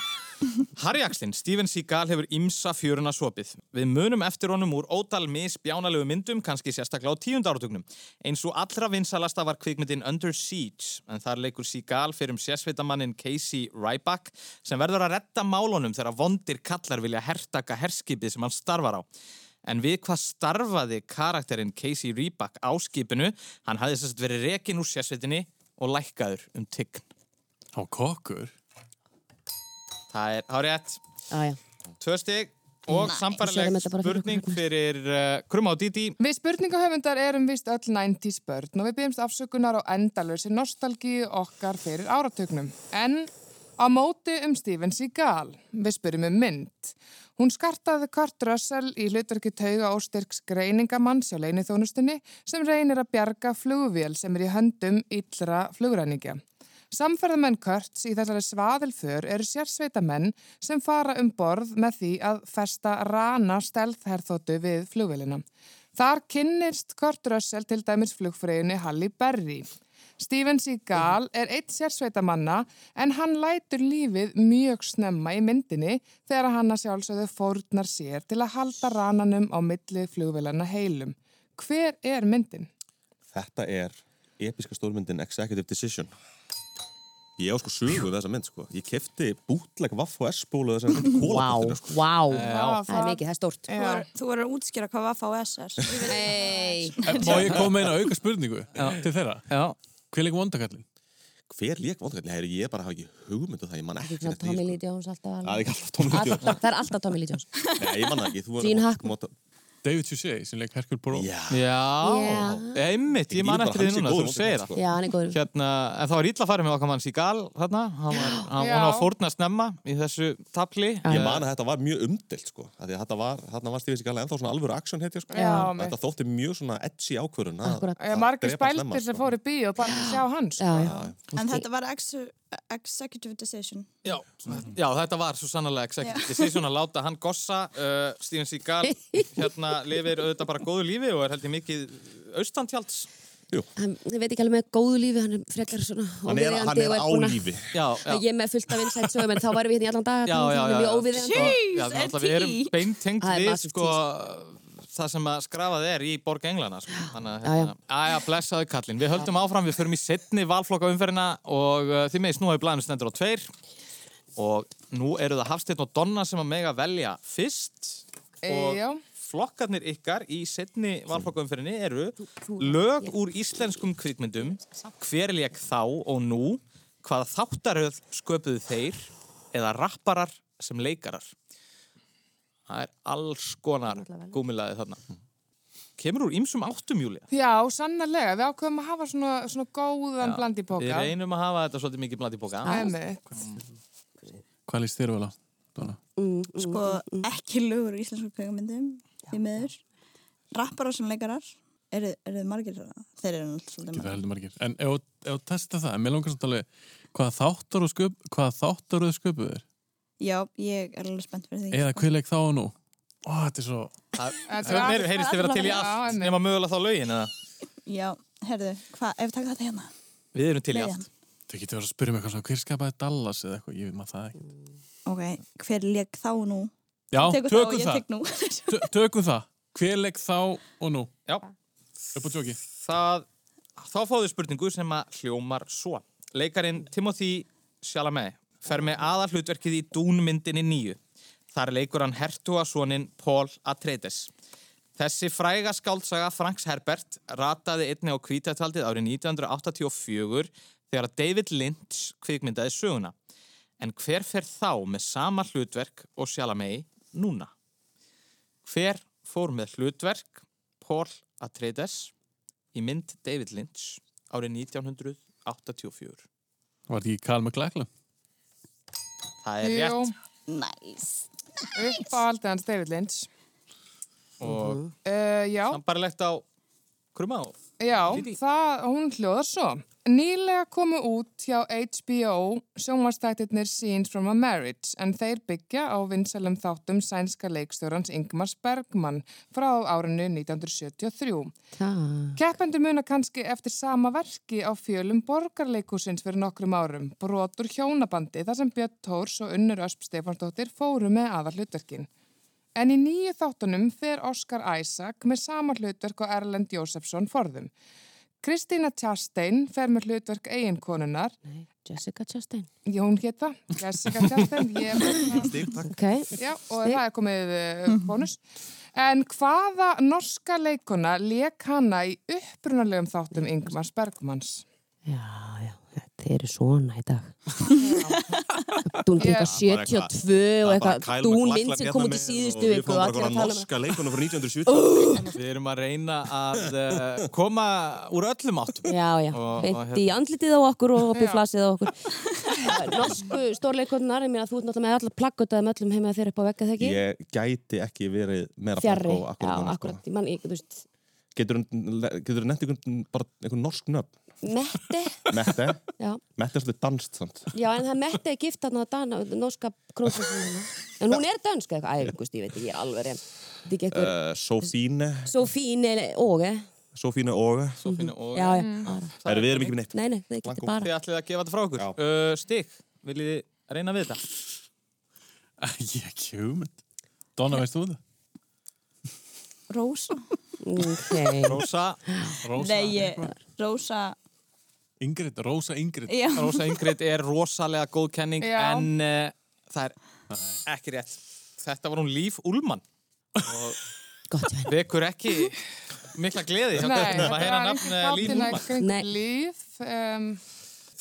S1: Harry Axlin, Steven Seagal hefur imsa fjöruna sopið. Við munum eftir honum úr ótal misbjánalegu myndum, kannski sérstaklega á tíunda áratugnum. Eins og allra vinsalasta var kvikmyndin Under Siege, en þar leikur Seagal fyrir um sérsveitamannin Casey Ryback sem verður að retta málunum þegar vondir kallar vilja hertaka herskipið sem hann starfar á. En við hvað starfaði karakterinn Casey Ryback á skipinu, hann hafði sérst verið rekin úr sérsveitinni og lækkaður um tign.
S6: Há kokkur?
S1: Það er hárétt.
S3: já, já.
S1: Tvö stig og
S3: Sérðu
S1: sambarleg
S3: þetta bara fyrir
S1: spurning
S3: okkur.
S1: fyrir uh, Krumma og Didi.
S2: Við spurningahöfundar erum vist öll 90s börn og við byggjumst afsökunar á endalösi nostalgíu okkar fyrir áratögnum. En á móti um Steven Seagal, við spyrjum um mynd. Hún skartaði Kurt Russell í hlutverki tauga og styrks greiningamanns hjá leiniþónustinni sem reynir að bjarga flugvél sem er í höndum illra flugræningja. Samferðamenn Kurtz í þessari svaðilför eru sérsveitamenn sem fara um borð með því að festa rana stelðherþóttu við flugvélina. Þar kynnist Kurt Russell til dæmis flugfreyjunni Halli Berry. Steven Seagal er eitt sérsveitamanna en hann lætur lífið mjög snemma í myndinni þegar hann að sjálfsögðu fórnar sér til að halda rananum á milli flugvélana heilum. Hver er myndin?
S4: Þetta er episka stórmyndin Executive Decision. Ég á sko sögu við þessa mynd, sko. Ég kefti bútleg vaff og S-bólu þessa mynd í
S3: Vá,
S4: kólapottinu, sko.
S3: vá,
S2: Eh, Já.
S3: það er mikið, það er stórt.
S5: Þú verður- Þú verður að útskýra hvað Vaffa og
S6: (laughs)
S5: S er.
S3: Nei,
S6: Má ég koma með eina auka spurningu til þeirra?
S1: Já.
S6: Hver leikur vondakallin?
S4: hver lék vondkallin? Nei, heyrðu, ég bara hafa ekki hugmyndu það, ég man ekki
S3: Svona
S4: eftir
S3: Tommy
S4: því,
S3: Lee
S4: sko.
S3: Jones alltaf
S4: Það er
S3: alveg.
S4: ekki alltaf Tommy Lee Jones.
S3: Alltaf, það er alltaf Tommy Lee Jones
S4: Nei, ég man það ekki. þú
S3: Gene
S4: var-
S3: Hackman.
S4: mátt-
S6: David Suchet sem leik Herkul Boró
S4: Já,
S1: Já, Eh, einmitt, ég man
S4: Ég er bara
S1: eftir því
S4: hans í
S1: núna þegar
S4: góðum
S1: þú segir það
S4: vondum, sko.
S3: Já, hann er góður
S1: Hérna, en það var illa farið með okkar mann Sigal hérna, hann var, hann
S2: Já.
S1: hann var fórna snemma í þessu tapli
S4: Ég man að þetta var mjög umdelt sko að að þetta var, þarna var Steven Seagal ennþá svona alvöru action hetja sko
S2: Já,
S4: Og
S2: mitt.
S4: Þetta þótti mjög svona edgy ákvörun
S3: Akkúrat.
S2: Já, margir spældir
S4: sko.
S1: sko.
S2: sem fóru í bíó bara að sjá sko. hans.
S3: Já, já.
S5: En þetta var ex- executive decision.
S1: Já, já, þetta var svo sannlega executive decision að láta hann gossa uh, Steven Seagal
S2: (laughs)
S1: hérna lifir auðvitað bara góðu lífi og er held ég mikið austantjalds
S3: hann, ég veit ekki alveg með góðu lífi hann er frekar svona
S4: Hann er, hann
S3: óviðeigandi
S4: er
S3: og
S4: á
S3: búinn að-
S4: lífi
S1: Já, já
S3: ég er með fullt af insight sögum en þá varum við hérna í allan dag
S1: Já, já, já,
S3: mjög
S1: já.
S3: óviðeigandi
S1: Og-
S3: og-
S5: Jeez,
S1: já,
S5: er
S1: náttúrulega Við erum
S5: tí.
S1: beintengt
S3: Það er
S1: við
S3: massive
S1: sko, það sem að skrafað er í borg englana sko. Þannig að
S3: Já, já.
S1: hérna, aðja, blessaðu kallinn Við höldum áfram, við förum í setni valflokka umferðina og uh, þið meðist nú hefur blæðinu stendur á tveir og nú eru það Hafsteinn og Donna sem að mega velja fyrst
S2: E,
S1: og
S2: já.
S1: flokkarnir ykkar í setni valflokkaumferðinni eru lög úr íslenskum kvikmyndum hver lék þá og nú hvaða þáttaröð sköpuðu þeir eða rapparar sem leikarar það er alls konar gúmilaði þarna kemur úr ýmsum áttum Júlia
S2: Já, sannarlega. Við ákveðum að hafa svona, svona góðan bland í
S1: við
S2: bóka.
S1: reynum að hafa þetta svolítið mikið bland í boka
S2: Einmitt.
S6: Hvað líst þér vel á? Donna?
S5: Sko, ekki lögur í íslensku kveikmyndum, því miður. Rapparar sem leikarar, eru eru þið margir það? Þeir eru náttúrulega svolítið
S6: Getur
S5: margir.
S6: heldur margir En ef ef þú testa það, en mér langar samt alveg Hvaða þáttar og sköp, hvaða þáttar og sköpuð er?
S5: Já, ég er alveg spennt fyrir því.
S6: Eða
S5: sko.
S6: hver leik þá og nú? Ó, þetta er svo
S1: þau meir heyrist þið vera til í
S2: Já,
S1: allt
S2: einmitt.
S1: nema mögulega þá lögin eða
S5: Já, herðu, hvað, ef við taka þetta hérna?
S1: við erum til í
S5: Leigan.
S1: allt
S6: Þau getur verið að spyrja mig eitthvað svona Hver skapaði Dallas eða eitthvað, ég veit maður það ekki
S5: Ok, hver leik þá nú?
S6: Já,
S5: Tekur þá og
S6: tökum
S5: ég
S6: það,
S5: tek nú. (laughs)
S6: Tö- tökum það Hver leik þá og nú?
S1: Já.
S6: Upp á tjóki
S1: það, þá fáðu spurningu sem að hljómar svo. Leikarin Timothy Chalamet fer með aðalhlutverkið í dúnmyndinni nýju. Þar leikur hann hertuasonin Paul Atreides. Þessi fræga skáldsaga Franks Herbert rataði einni á kvítataldið árið 1984 þegar David Lynch kvikmyndaði söguna. En hver fer þá með sama hlutverk og Chalamet núna? Hver fór með hlutverk Paul Atreides í mynd David Lynch árið 1984.
S6: Var þetta ekki Karl McLachlan? (laughs)
S1: Það er
S2: Jú,
S1: rétt
S5: Næs.
S2: uppáhaldið hans David Lynch.
S1: og
S2: Uh, já,
S1: sambarlegt á krumma og
S2: Já,
S1: Lillý.
S2: það, hún hljóðar svo. Nýlega komu út hjá HBO sjónvastættirnir Scenes from a Marriage en þeir byggja á vinsalum þáttum sænska leikstjórans Ingmars Bergman frá árinu 1973.
S3: Það-
S2: Keppendur muna kannski eftir sama verki á fjölum borgarleikusins fyrir nokkrum árum, brotur hjónabandi þar sem Björn Tórs og Unnur Ösp Stefansdóttir fóru með aðallutverkin. En í nýju þáttunum fer Oscar Isaac með sama hlutverk og Erlend Jósefsson forðum. Kristína Chastain fer með hlutverk eiginkonunar,
S3: Nei, Jessica Chastain
S2: já hún hétt það, Jessica Chastain, ég
S4: Stig, takk
S3: okay.
S2: Já, og það er komið eh,
S3: Mhm.
S2: bónus. En hvaða norska leikuna leik hana í upprunalegum þáttum Ingmars Bergmans?
S3: Já, já, þeir eru svona í dag (laughs) Dún til
S2: Ég-
S3: eitthvað 72 og eitthvað Dún mynd sem kom út í síðustu viku og
S4: hérna og
S3: allir að tala um það.
S4: norska leikunum frá 1970
S1: við erum að reyna að uh, koma úr öllum áttum.
S3: Já, já,
S1: Og- og
S3: beint í andlitið á okkur og upp í flasið á okkur (laughs) Norsku stórleikurnar, ég meina þú ert náttúrulega með allar plaggötaðum öllum heima þeir upp á vegga þegar ekki
S4: Ég gæti ekki verið meira
S3: Fjarri,
S4: plakko
S3: já,
S4: akkurat núna, sko.
S3: akkurat, ég man, ég, þú veist
S4: Getur þú nefnt einhvern bara einhvern norsk nöfn
S3: Mette,
S4: Mette,
S3: (laughs) já,
S4: Mette er svolítið danst samt
S3: já, en það Mette er gift þarna að Dana, norska krónsfjörnum En hún er dönsk eða eitthvað, æ, þú veist, ég veit ekki, ég er alveg reyn Þetta er ekki eitthvað,
S1: Eh.
S4: uh, Sofíne,
S3: svo fín eða, og, eh?
S4: Sofíne Óga
S1: Sofínu og eh.
S3: já, já, bara-
S4: Erum við erum ekki með neitt
S3: nei, nei, það er ekki bara
S1: þið ætlið að gefa þetta frá okkur.
S4: Já.
S1: Uh, Stig, viljið þið reyna við þetta?
S6: Ég er ekki hugmynd Donna, veist þú það?
S5: Rósa.
S3: Ok,
S1: (laughs) Rósa,
S6: Rósa,
S5: Nei, ég, Rósa,
S6: Ingrid, Rósa Ingrid
S5: já.
S1: Rósa Ingrid er rosalega góð kenning
S2: Já.
S1: en uh, það er ekki rétt. Þetta var hún Líf Ullmann og
S3: gott venn
S1: vekur ekki mikla gleði hjá
S2: Nei,
S1: kaupinu að
S2: þetta
S1: heyra
S2: var
S1: nafn
S2: einhver
S1: eh, Líf
S2: þáttin að
S1: Ullmann.
S2: kring
S3: Nei.
S2: líf. Um,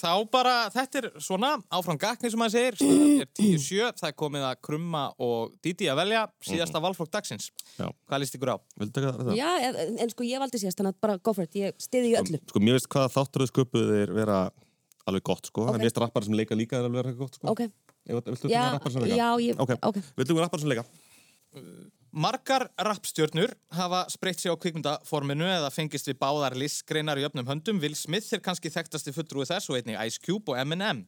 S1: þá bara, þetta er svona áfram gakni sem maður segir, staðan er 10-7 það er komið að krumma og díti að velja síðasta valflokk dagsins
S4: Já.
S1: hvað líst ykkur á?
S4: Vildu taka þetta?
S3: Já, en, en sko ég valdi síðast, þannig að bara go for it, ég stiði í öllu.
S4: Sko, mér veist hvaða þáttur þau sköpuðu þeir vera alveg gott, sko. En mér veist rappar sem leika líka þeir alveg vera gott, sko.
S3: Ok,
S4: Ef- Viltu
S3: Já,
S4: taka rappar sem leika?
S3: já, ég-
S4: Ok.
S3: ok.
S4: Vildu taka rappar sem leika?
S1: Margar rappstjörnur hafa spreytt sig á kvikmyndaforminu eða fengist við báðar listgreinar í öfnum höndum. Will Smith er kannski þekktasti fulltrúi þess og einnig Ice Cube og Eminem.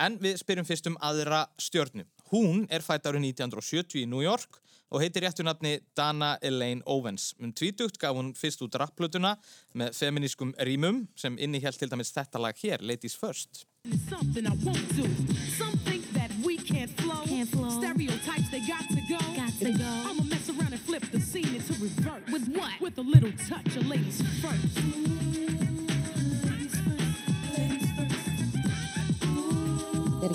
S1: En við spyrjum fyrst um aðra stjörnu. Hún er fætt árið 1970 í New York og heitir réttu nafni Dana Elaine Owens. Um tvítugt gaf hún fyrst út rapplötuna með feminískum rýmum sem innihjælt til dæmis þetta lag hér, Ladies First.
S7: Something I won't do. Something that we can't flow.
S8: Can't flow.
S7: Stereotypes, they got to go.
S8: Got to go.
S7: I'ma mess around and flip the scene into reverse.
S8: With what?
S7: With a little touch of ladies first.
S3: þetta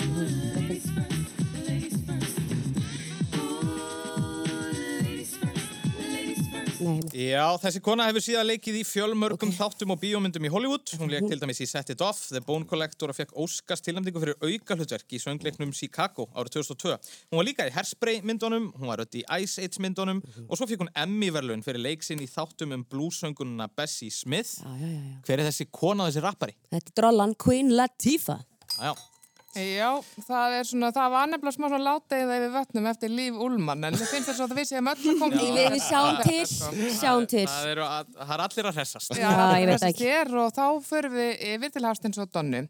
S3: er ekki hún. Þetta er- Nei, nei.
S1: Já, þessi kona hefur síðan leikið í fjölmörgum þáttum og bíómyndum í Hollywood. Hún leik til dæmis í Set It Off, The Bone Collector og fekk Óskars tilnæmningu fyrir auka hlutverk í söngleiknum Chicago árið 2002. Hún var líka í Hairspray myndunum, hún var öll í Ice Age myndunum
S3: Mhm.
S1: og svo fekk hún Emmy-verlun fyrir leik sinn í þáttum um blúsöngununa Bessie Smith.
S3: Já, já, já, já.
S1: Hver er þessi kona og þessi rappari?
S3: Þetta er drollan Queen Latifah.
S1: Já,
S2: Já, það er svona, það var nefnilega smá svona láteið yfir vötnum eftir líf Ulman, en það finnst þess að við séum öll að koma
S3: Við, við sjáum til, sjáum til.
S1: það eru að, það er allir að hressast.
S2: Já,
S3: Já, ég veit
S2: þessi
S3: ekki.
S2: hér og þá förum við yfir til Hafstins og Donnu.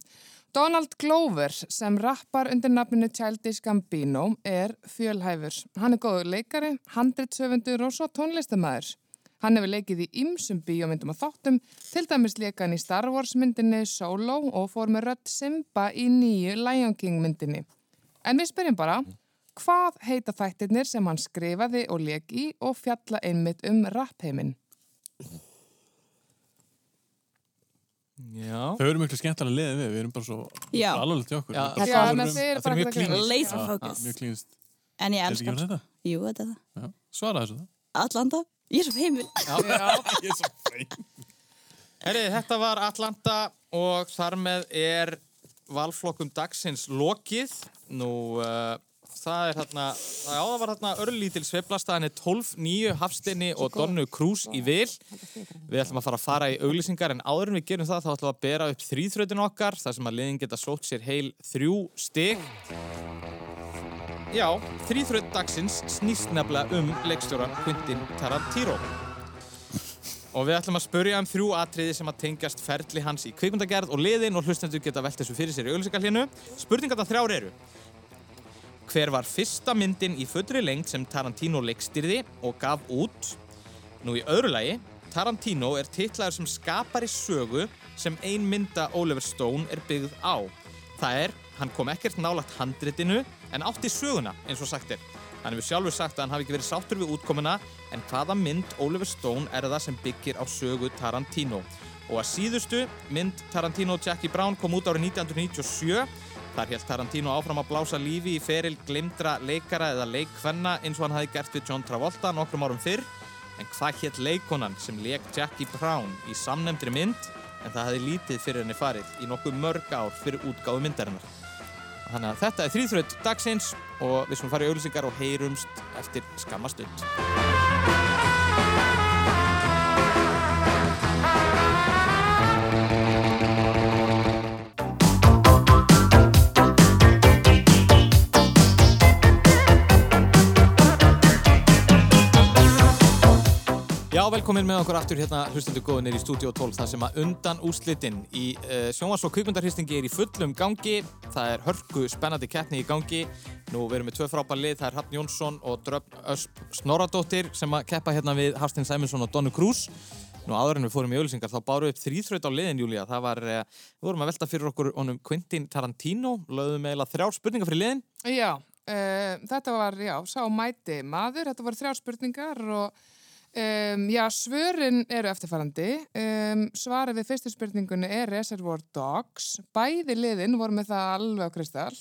S2: Donald Glover sem rappar undir nafninu Childish Gambino er fjölhæfur. Hann er góður leikari, handritsöfundur og svo tónlistamæður. Hann hefur leikið í ymsum bíómyndum og þáttum, til dæmis leika hann í Star Wars myndinni Solo og fór með rödd Simba í nýju Lion King myndinni. En við spyrjum bara, hvað heita þættirnir sem hann skrifaði og leik í og fjalla einmitt um rappheiminn?
S1: Já.
S6: Þau eru miklu skemmtilega leiðið við, við erum bara svo
S5: Já.
S6: alvarlegt til okkur.
S1: Já.
S6: Við erum
S2: Já,
S6: bara-
S2: menn þið eru
S6: Þetta
S2: bara
S6: er um- mjög
S2: ekkert að
S6: klínist.
S5: Laser
S6: Já,
S5: focus.
S6: já, Mjög klínist.
S5: En ég
S6: Er þetta
S5: elskar
S6: ekki
S5: hann. sko.
S6: þetta?
S5: Jú, þetta er það.
S6: Já. Svaraði þessu það.
S5: Atlanta, ég er svo heimil.
S6: (laughs) Ég er svo fein.
S1: Herri, þetta var Atlanta og þar með er valflokkum dagsins lokið. Nú, uh, það er þarna, já, það var þarna örlítil sveiflastaðan er 12, 9, Hafstinni og Donnu Krús í vil. Við ætlum að fara að fara í auglýsingar en áður en við gerum það þá ætlum við að bera upp þrýþrautin okkar þar sem að liðin geta sótt sér heil þrjú stig. Já, þrýþraut dagsins snýst nefnilega um leikstjóran Quentin Tarantino. Og við ætlum að spurja um þrjú atriði sem að tengjast ferli hans í kvikmyndagerð og liðin og hlustendur geta velt þessu fyrir sér í auglýsingarlinu. Spurningarna þrjár eru. Hver var fyrsta myndin í fullri lengt sem Tarantino leikstýrði og gaf út? Nú í öðru lagi, Tarantino er titlaður sem skapari sögu sem ein mynda Oliver Stone er byggð á. Það er, hann kom ekkert nálagt handritinu en átti söguna, eins og sagt er. Hann hefur sjálfur sagt að hann hafi ekki verið sáttur við útkomuna en hvaða mynd Oliver Stone er það sem byggir á sögu Tarantino. Og að síðustu, mynd Tarantino og Jackie Brown kom út árið 1997 Þar held Tarantino áfram að blása lífi í feril glimdra leikara eða leikkvenna eins og hann hafi gert við John Travolta nokkrum árum fyrr. En hvað hétt leikonan sem leik Jackie Brown í samnefndri mynd en það hafi lítið fyrir henni farið í nokkuð mörg ár fyrir útgáðu myndarinnar. Þannig að þetta er þrýþraut dagsins og við sem farið í auðlýsingar og heyrumst eftir skammastund. Já, velkomin með okkur aftur hérna hlustendur góðinir í Studio 12 þar sem að undan úslitinn í uh, sjónvars- og kvikmyndarhristingi er í fullum gangi það er hörku spennandi keppni í gangi nú verum við tvö frábær lið, það er Hrafn Jónsson og Dröfn Ösp Snoradóttir sem að keppa hérna við Hafstinn Sæminsson og Donnu Krús Nú áður en við fórum í auðlýsingar þá bárum við upp þrýþraut á liðin, Júlía. Það var, eh, við vorum að velta fyrir okkur honum Quentin Tarantino, lögðum eiginlega þrjár spurningar fyrir liðin.
S2: Já, uh, þetta var, já, sá mæti maður, þetta voru þrjár spurningar og um, já, svörin eru eftirfarandi. Um, svarið við fyrstu spurningunni er Reservoir Dogs. Bæði liðin voru með það alveg á kristall.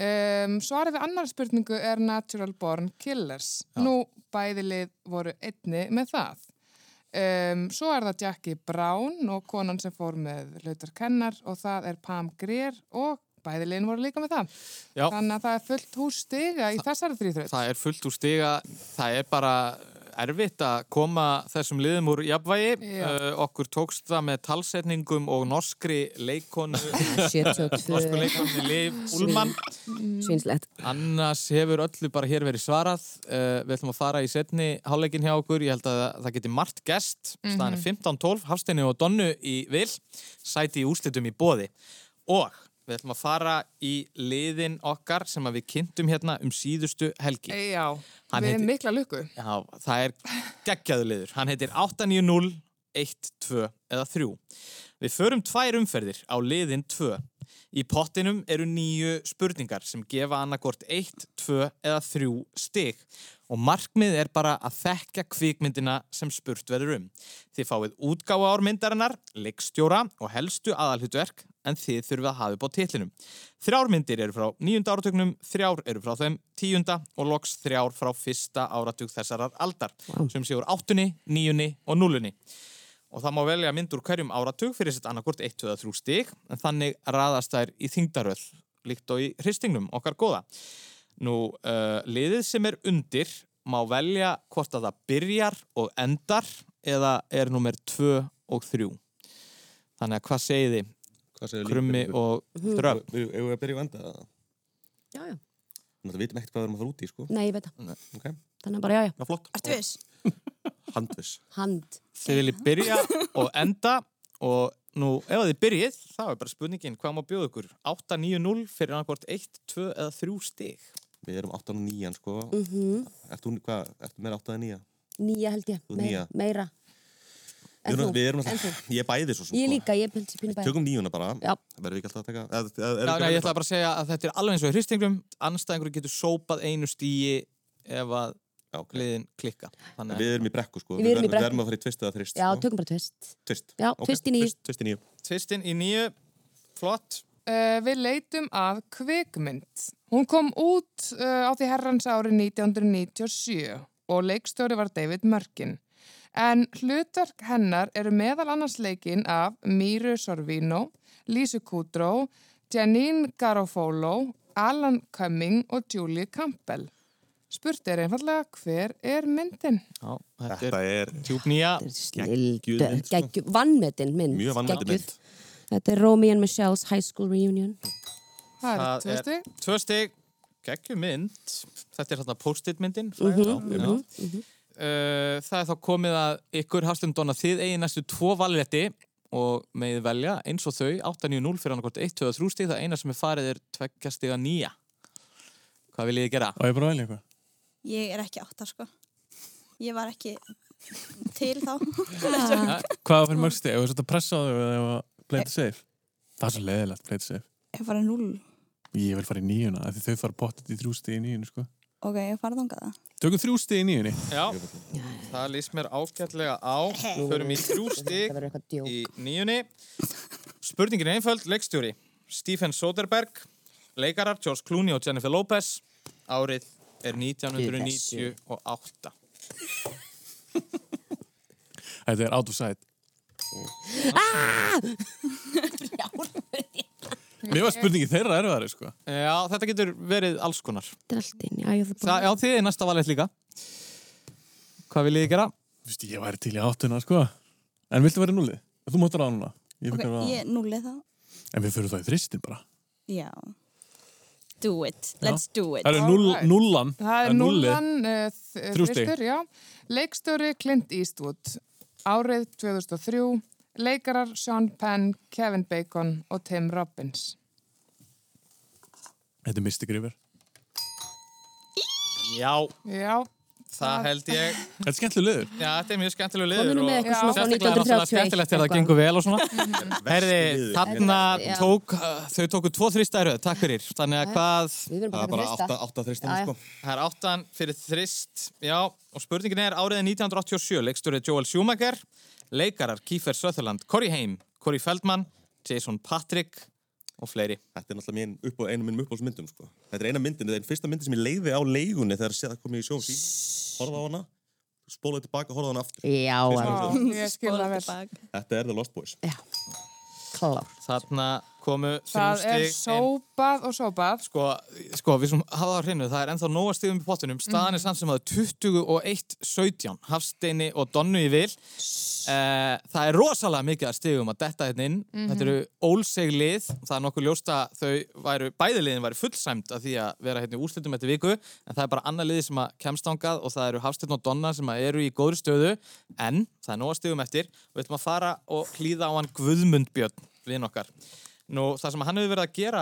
S2: Um, svarið við annar spurningu er Natural Born Killers. Nú, bæði lið voru einni með það. Um, svo er það Jackie Brown og konan sem fór með hlutar kennar og það er Pam Greer og bæðilegin voru líka með það.
S1: Já.
S2: Þannig að það er fullt hús stiga í þessari þrýþraut.
S1: Það er fullt úr stiga, það er bara erfitt að koma þessum liðum úr jafnvægi.
S2: Já.
S1: Uh, okkur tókst það með talsetningum og norskri leikonu,
S3: 72
S1: norsku leikonu Liv Ullmann.
S3: Svinslegt
S1: Annars hefur öllu bara hér verið svarað. Uh, við ætlum að fara í setni hálfleikin hjá okkur. Ég held að það geti margt gest. Staðan er 15-12, Hafsteinu og Donnu í vil, sæti í úrslitum í bóði. Og við ætlum að fara í liðin okkar sem að við kynntum hérna um síðustu helgi.
S2: Já,
S1: Hann
S2: við
S1: heitir-
S2: erum mikla lukku.
S1: Já, það er geggjaður liður. Hann heitir 890 1, 2 eða 3. Við förum tvær umferðir á liðin 2. Í pottinum eru nýju spurningar sem gefa annarkort 1, 2 eða 3 stig og markmið er bara að þekka kvikmyndina sem spurt verður um. Þið fáið útgáfa ármyndarinnar, leikstjóra og helstu aðalhutverk en þið þurfið að hafa upp á titlinum. Þrjár myndir eru frá nýjunda áratögnum, þrjár eru frá þeim tíunda og loks þrjár frá fyrsta áratug þessarar aldar sem séur áttunni, níunni og núlunni. Og það má velja mynd úr hverjum áratug fyrir sitt annarkort 1, 2 eða 3 stig en þannig raðast þær í þingdaröð líkt og í hristingnum okkar góða. Nú, uh, liðið sem er undir má velja hvort að það byrjar og endar eða er númer 2 og 3. Þannig að hvað segið þið?
S4: Hvað segir
S1: Krummi og dröf
S4: Við erum að byrja að venda það.
S3: já, já.
S4: Þannig að við veitum ekkert hvað við erum að fara út í, sko.
S3: Nei, ég veit það
S4: Ok,
S3: Þannig að bara, já, já,
S4: já, flott.
S5: Ertu viss?
S4: Handviss.
S3: hand
S1: Þið viljið byrja og enda og nú ef þið byrjið þá er bara spurningin hvað má bjóða ykkur 8-9-0 fyrir annarkvort 1, 2 eða 3 stig
S4: Við erum 8 og 9, sko.
S3: mm
S4: Ertu, hvað, ertu meira 8 en 9?
S3: Nýja held ég,
S4: Þú
S3: meira,
S4: nýja.
S3: meira. En
S4: Við erum,
S3: þú?
S4: við erum
S3: En þú?
S4: alltaf, ég er bæði svo sem,
S3: Ég líka, ég pilsi pínu bæði
S4: Tökum nýjuna bara.
S3: Já.
S4: Verðum við ekki alltaf að taka? Eð, eð,
S1: Já, nei, ég ætla bara að segja að þetta er alveg eins og í hristinglum anstæðingur getur sópað einu stíi ef að
S4: Já, ok.
S1: liðin klikka Þannig að
S4: Við erum í brekku, sko.
S3: Við erum í
S4: verðum-
S3: brekku.
S4: Við erum að fara í tvist eða þrist.
S3: Já,
S4: sko.
S3: tökum bara tvist
S4: Tvist.
S3: Já,
S4: Ok,
S3: tvist í níu.
S4: tvist- Tvist í nýju.
S1: tvistin í nýju flott
S2: Uh, við leitum að kvikmynd. Hún kom út uh, á því herrans ári 1997 og leikstjóri var David Mörkin. En hlutverk hennar eru meðal annars leikinn af Miru Sorvino, Lísu Kudrow, Janine Garofolo, Alan Cumming og Julie Campbell. Spurt er einfallega hver er myndin?
S1: Já, þetta er
S4: Þetta er
S1: tjúb nýja
S4: Geggjuð mynd, sko.
S3: Snild, vannmetinn mynd
S4: mjög vannmætti
S3: geggjuð.
S4: mynd.
S3: Þetta er Romy and Michelle's High School Reunion
S2: Það er
S1: Það er-
S2: tvösti.
S1: Tvö stig, geggjum mynd Þetta er þarna post-it myndin fræga.
S4: Já,
S1: Já. Uh, það er þá komið að ykkur hafstundon að þið eigi næstu tvo valrétti og megið velja eins og þau 8-9-0 fyrir annarkort 1, 2 og 3 stig það eina sem er farið er tveggja stiga nýja hvað viljið þið gera?
S6: Og ég bara að velja eitthvað.
S5: Ég er ekki átta, sko. Ég var ekki til þá.
S6: Hvað var fyrir mörgsti? Ef við svolítið að pressa á þau eða ef að play it safe? Það er svo leiðilegt, play it safe.
S5: Ég var að núl.
S6: Ég vil fara í nýjuna, af því þau fara pottet í þrjú stið í nýjunu, sko.
S5: Ok, ég fara þangað það.
S6: Tökum þrjú stið í nýjunni.
S1: Já, það lýst mér ágætlega á við förum í 3
S3: Það
S1: stig
S3: verður eitthvað djók
S1: í nýjunni spurningin er einföld, leikstjóri Stephen Soderbergh, leikarar George Clooney og Jennifer Lopez árið er 1998
S6: Þetta er out of sight. Mér var spurningi þeirra erfari, sko.
S1: Já, þetta getur verið alls konar
S3: Þetta er allt inn, já, ég þarf
S1: Það,
S3: bara
S1: já, þið er næsta valið líka. Hvað viljið þið gera?
S6: Þú veist, ég væri til í áttuna, sko. En viltu vera í núlið? Þú máttur á núna. Ég
S5: Ok,
S6: okay,
S5: ég núli þá.
S6: En við fyrir það í þristin bara.
S5: Já. Do it. Let's do it.
S6: Það eru
S2: All
S6: núll,
S2: right.
S6: núllan.
S2: Það er
S6: núllið.
S2: núllan uh,
S6: Þrjú stig.
S2: þristur, já. Leikstjóri Clint Eastwood, árið 2003, leikarar Sean Penn, Kevin Bacon og Tim Robbins.
S6: Þetta er Mystic River.
S1: Já,
S2: Já,
S1: það held ég.
S6: Þetta er skemmtileg liður.
S1: Já, þetta er mjög skemmtilegu liður.
S3: Komið nú með
S1: og-
S3: eitthvað svona frá
S1: Sérstaklega er náttúrulega
S3: 1931
S1: skemmtilegt þegar það
S3: eitthvað.
S1: gengur vel og
S3: (laughs)
S1: svona. Herði,
S4: liður.
S1: þarna
S3: Já.
S1: tók, uh, þau tóku tvo þrýstæröð, takk fyrir. Þannig að hvað,
S3: Við verðum
S4: Það er
S3: bara
S4: bara
S3: að taka
S4: 8
S3: þrista
S4: 8 þristin,
S3: Já, já.
S4: sko.
S1: það er áttan fyrir þrýst, já, og spurningin er áriðið 1987, leiksturðið Joel Schumacher, leikarar Kiefer Sutherland, Corey Haim, Corey Feldman, Jason Patrick og fleiri.
S4: Þetta er náttúrulega mín upp og einu minn uppáhaldsmyndum sko. Þetta er eina myndin, þetta er einn fyrsta myndin sem ég leiði á leigunni þegar sé- það kom ég í sjón sín. Horfði á hana, spólaði tilbaka og horfði á hann aftur.
S3: Já,
S2: Já,
S3: alveg.
S2: ég skil það vel.
S4: Þetta er The Lost Boys.
S3: Já. Klárt.
S1: Þarna komu
S2: Það er
S1: þrjú stig inn.
S2: sópað og sópað.
S1: Sko, sko, við sem hafa það á hreinu, það er ennþá nóga stigum í pottunum, staðan
S2: Mhm.
S1: er samt sem að 21-17, Hafsteini og Donnu í vil. Eh, það er rosalega mikið að stigum að detta hérna inn. Þetta eru ólseg lið, það er nokkuð ljóst að þau væru, bæði liðin væru fullsæmt að því að vera hérna í úrslitum eftir viku, en það er bara annað liði sem að kemst ángað og það eru Hafstein og Donna sem að eru í góðri stöðu, en það er nóga stigum eftir og við ætlum að fara og hlýða á hann Guðmund Björn, liðin okkar. Nú, það sem hann hefur verið að gera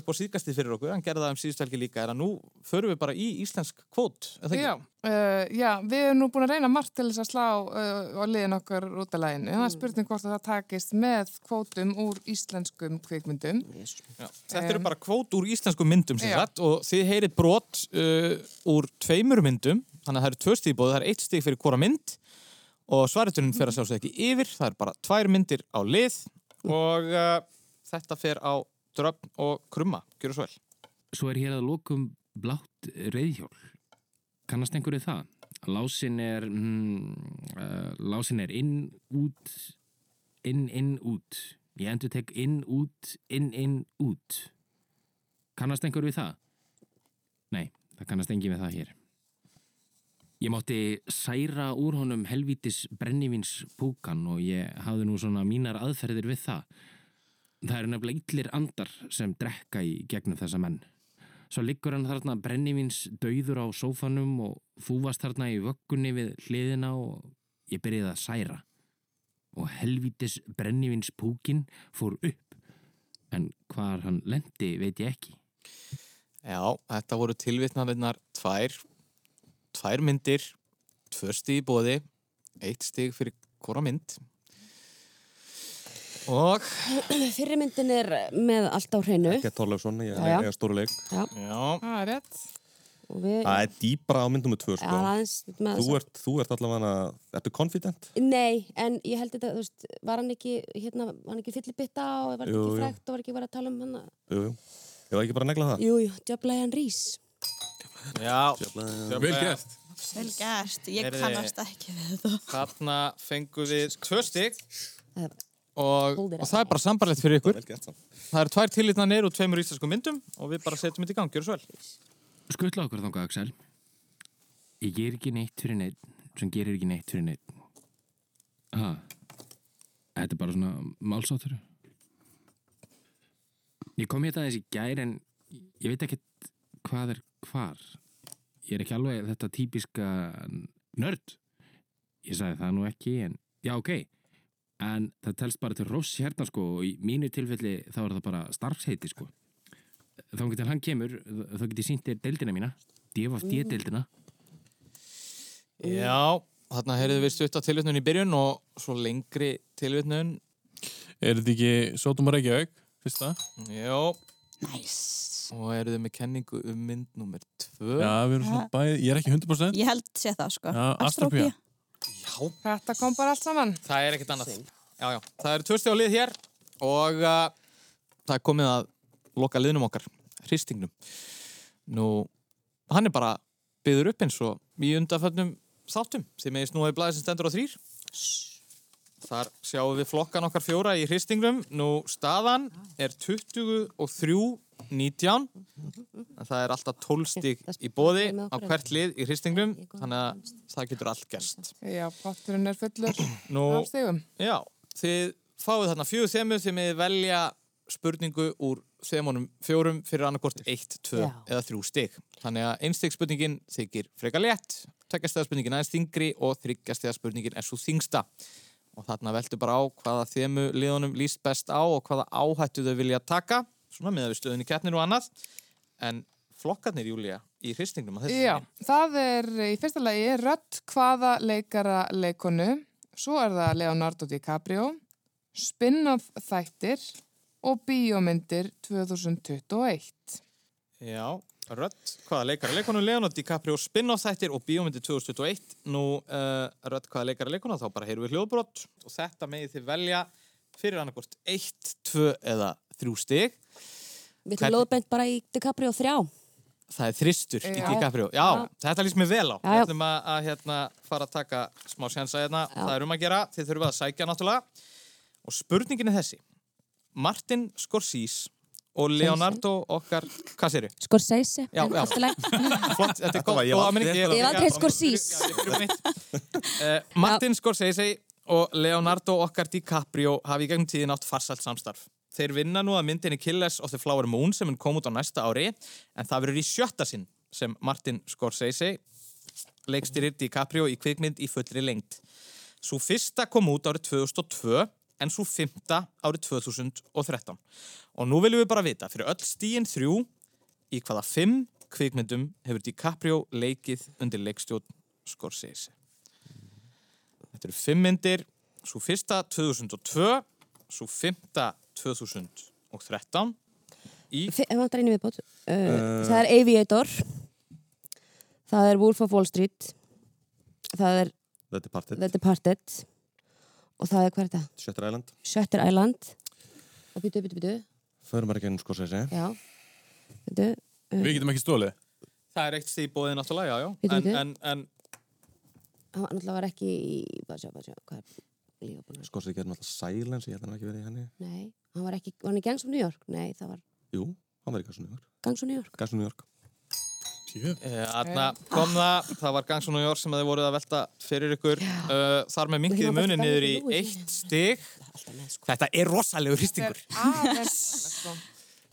S1: upp á síðkastið fyrir okkur, hann gerði það um síðustelgi líka, er að nú förum við bara í íslensk kvót, er það ekki?
S2: Já, uh, já, við erum nú búin að reyna margt til þess að slá uh, og liðin okkar út af læginu. Það er spurning hvort að það takist með kvótum úr íslenskum kvikmyndum.
S1: Já. Þetta eru bara kvót úr íslenskum myndum sem
S2: Já.
S1: sagt og þið heyrið brot uh, úr tveimur myndum, þannig að það eru tvö stíð bóðið, það er eitt stíð fyrir hvora mynd og svariturinn fer að sjálfsög ekki yfir, það er bara tvær myndir á lið og uh, þetta fer á dröfn og krumma, gjör svo vel.
S8: Svo er hér að lokum blátt reyðhjól. Kannast einhverju það? Lásin er, mm, uh, lásin er inn, út, inn, inn, út. Ég endur tek inn, út, inn, inn, út. Kannast einhverju það? Nei, það kannast engin við það hér. Ég mátti særa úr honum helvítis brennivins púkan og ég hafði nú svona mínar aðferðir við það. Það eru nefnilega illir andar sem drekka í gegnum þessa menn. Svo liggur hann þarna brennivins dauður á sófanum og fúvast þarna í vöggunni við hliðina og ég byrjaði að særa. Og helvítis brennivins púkin fór upp, en hvar hann lendi veit ég ekki.
S1: Já, þetta voru tilvitnaðinnar tvær, tvær myndir, tvö stíð bóði, eitt stíð fyrir hvora mynd og
S3: Fyrri myndin er með allt á hreinu.
S4: Gett Þorleifsson, ég
S3: Já, já.
S4: er stóru leik.
S3: Já,
S1: já,
S2: Það er rétt.
S3: og við...
S4: Það er dýbra á myndum með tvö,
S3: Já,
S4: sko.
S3: aðeins með
S4: Þú ert, þú ert allavega, ertu confident?
S3: Nei, en ég held þetta, þú veist, var hann ekki, hérna, var hann ekki fyllibitta og var
S4: Jú,
S3: jú,
S4: Ah. jú.
S3: ekki frækt og var ekki verið að tala um hann að-
S4: Jú, jú. Ég var ekki bara að negla það.
S3: Jú, jú, djöflaði hann rís
S1: já,
S6: Vel gert.
S5: Vel gæst, ég
S1: Heyrðu-
S5: kannast ekki við þetta.
S1: þarna fengum við tvö stíð
S3: Það-
S1: og,
S3: Hold it
S1: og það er bara sambarlegt fyrir ykkur.
S4: Vel gert samt.
S1: Það eru tvær tilvitnaðinir og tveimur íslensku myndum og við bara setjum þetta í gang, gjör svo vel.
S8: Skuttla okkur þangað, Axel. Ég ger ekki neitt fyrir neitt sem gerir ekki neitt fyrir neitt. Ha? Þetta er bara svona málsáttur. Ég kom hérna aðeins í gær en ég veit ekkert hvað er hvar. Ég er ekki alveg þetta típiska nörd. Ég sagði það nú ekki en... Já, ok. En það telst bara til ross hérna sko og í mínu tilfelli þá er það bara starfsheiti sko þá getur hann kemur, þá getur ég sínt þér deildina mína,
S9: Mm.
S8: DFD-deildina.
S1: Já, þarna heyrðum við stutta tilvitnun í byrjun og svo lengri tilvitnun.
S6: Er þetta ekki Sótum og Reykjavík, fyrsta?
S1: Já,
S5: Næs.
S1: og eruðu með kenningu um mynd nummer tvö.
S6: Já, við erum svona bæði, ég er ekki 100%.
S5: Ég held sé það, sko.
S6: Já, Astropía.
S2: Þetta kom bara allt saman.
S1: Það er ekkert annað. Já, já. Það eru tvö stjá lið hér og uh, það er komið að loka liðnum okkar, hristingnum. Nú, hann er bara byður upp eins og í undanföllnum þáttum sem er snúið blæði sem stendur á þrýr. Þar sjáum við flokkan okkar fjóra í hristingnum. Nú, staðan er 23-19. En Það er alltaf 12 stík í bóði á hvert lið í hristingnum. Þannig að það getur allt gerst.
S2: Já, potturinn er fullur
S1: Nú,
S2: af stegum.
S1: Já, þið fáið þarna fjögur þemu þið með velja spurningu úr þemunum fjórum fyrir annarkort 1, 2
S3: Já.
S1: eða 3 stig. Þannig að einstig spurningin þykir freka létt, tveggjastega spurningin aðeins þingri og þryggjastega spurningin er svo þingsta. Og þarna veltu bara á hvaða þemu liðunum líst best á og hvaða áhættu þau vilja taka, svona með að við stöðunni kettnir og annað. En flokkarnir, Júlia, í hristingnum að þessu.
S2: Já, það er í fyrsta lagi rödd hvaða leikara leikonu, svo er það Leonardo DiCaprio, spin-off þættir og bíómyndir 2021.
S1: Já, Rödd, hvaða leikara leikonu Leonardo DiCaprio spin-off þættir og bíómyndi 2021 Nú, uh, Rödd, hvaða leikara leikonu þá bara heyrum við hljóðbrot og þetta megið þið velja fyrir annarkort 1, 2 eða 3 stig
S3: Við
S1: Hvern-
S3: erum loðbent bara í DiCaprio 3
S1: Það er þristur í
S2: Já.
S1: DiCaprio. Já, þetta líst mér vel á.
S3: Já,
S1: Við
S3: já.
S1: ætlum að, að hérna, fara að taka smá sjansa hérna. Það er um að gera. Þið þurfum að sækja náttúrulega. Og spurningin er þessi. Martin Scorsese og Leonardo okkar... Hvað séru?
S3: Scorsese
S1: Já, já.
S3: Allt í lagi.
S1: Flott, þetta er
S4: var-
S1: gott.
S4: ég hef
S1: góð
S4: aldrei
S1: áminning.
S4: heyrt
S3: Ég hef aldrei Scorsese.
S1: Já, ég byrjum mitt. Eh, Martin Scorsese og Leonardo okkar DiCaprio hafi í gegnum tíðin átt farsalt samstarf. Þeir vinna nú að myndinni Killers of the Flower Moon sem mun koma út á næsta ári en það verður í sjötta sinn sem Martin Scorsese leikstýrir DiCaprio í kvikmynd í fullri lengt. Sú fyrsta kom út árið 2002 en svo fymta árið 2013. Og nú viljum við bara vita fyrir öll stíin þrjú í hvaða fimm kvikmyndum hefur DiCaprio leikið undir leikstjórn Scorsese. Þetta eru fimm myndir, svo fyrsta 2002, svo fymta 2013 í
S3: Fi- ef vantar einu viðbót. Uh, Það er Aviator Það er Wolf of Wall Street Það er
S4: Þetta er partið.
S3: The Departed og það er hvað er þetta?
S4: Shutter Island.
S3: Shutter Island og býtu, býtu, býtu
S4: Förum bara ekki ennum Scorsese.
S3: já, býtu
S6: Við getum ekki stólið.
S1: Það er eitt stíð bóðið náttúrulega, já, já.
S3: Bíddu,
S1: En,
S3: bíddu.
S1: en, en
S3: hann var náttúrulega var ekki í bara sjá, bara sjá, hvað er líka búin að
S4: Scorsese getur náttúrulega Silence, ég held að hann hafi ekki verið í henni.
S3: nei, hann var ekki, var hann í Gangs of New York? nei, það var
S4: Jú, hann verið í Gassu New York.
S3: Gangs of New York
S4: Gassu New York.
S1: Þarna Eh, kom það, það var Gangsun og Jór sem þið voruð að velta fyrir ykkur uh, þar með minkið
S3: Við þurfum að
S1: munin
S3: bæta
S1: niður í
S3: við Louis.
S1: eitt stig
S3: alltaf með sko
S1: Þetta er rosalegur
S2: Þetta er
S1: hristingur
S2: aðeins
S1: (laughs)
S2: sko.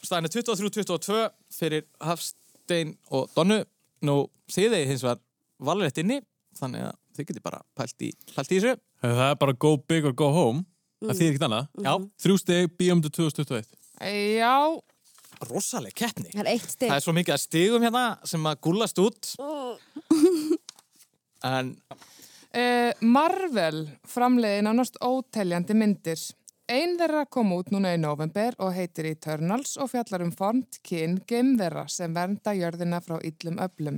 S1: Staðan er 23-22 fyrir Hafstein og Donnu Nú þið þið hins vegar valrétt inni þannig að þið getið bara pælt í, pælt í þessu
S6: Það er bara go big or go home. Það þýðir ekkert annað.
S1: Já,
S6: Þrjú steg, bíum til 2021.
S2: Já,
S1: rosaleg keppni
S3: það er eitt steg
S1: Það er svo mikið að stigum hérna sem að gúllast út En
S2: uh, Marvel framleiði nánast óteljandi myndir. Ein þeirra kom út núna í november og heitir Eternals og fjallar um formt kyn geimvera sem vernda jörðina frá illum öflum.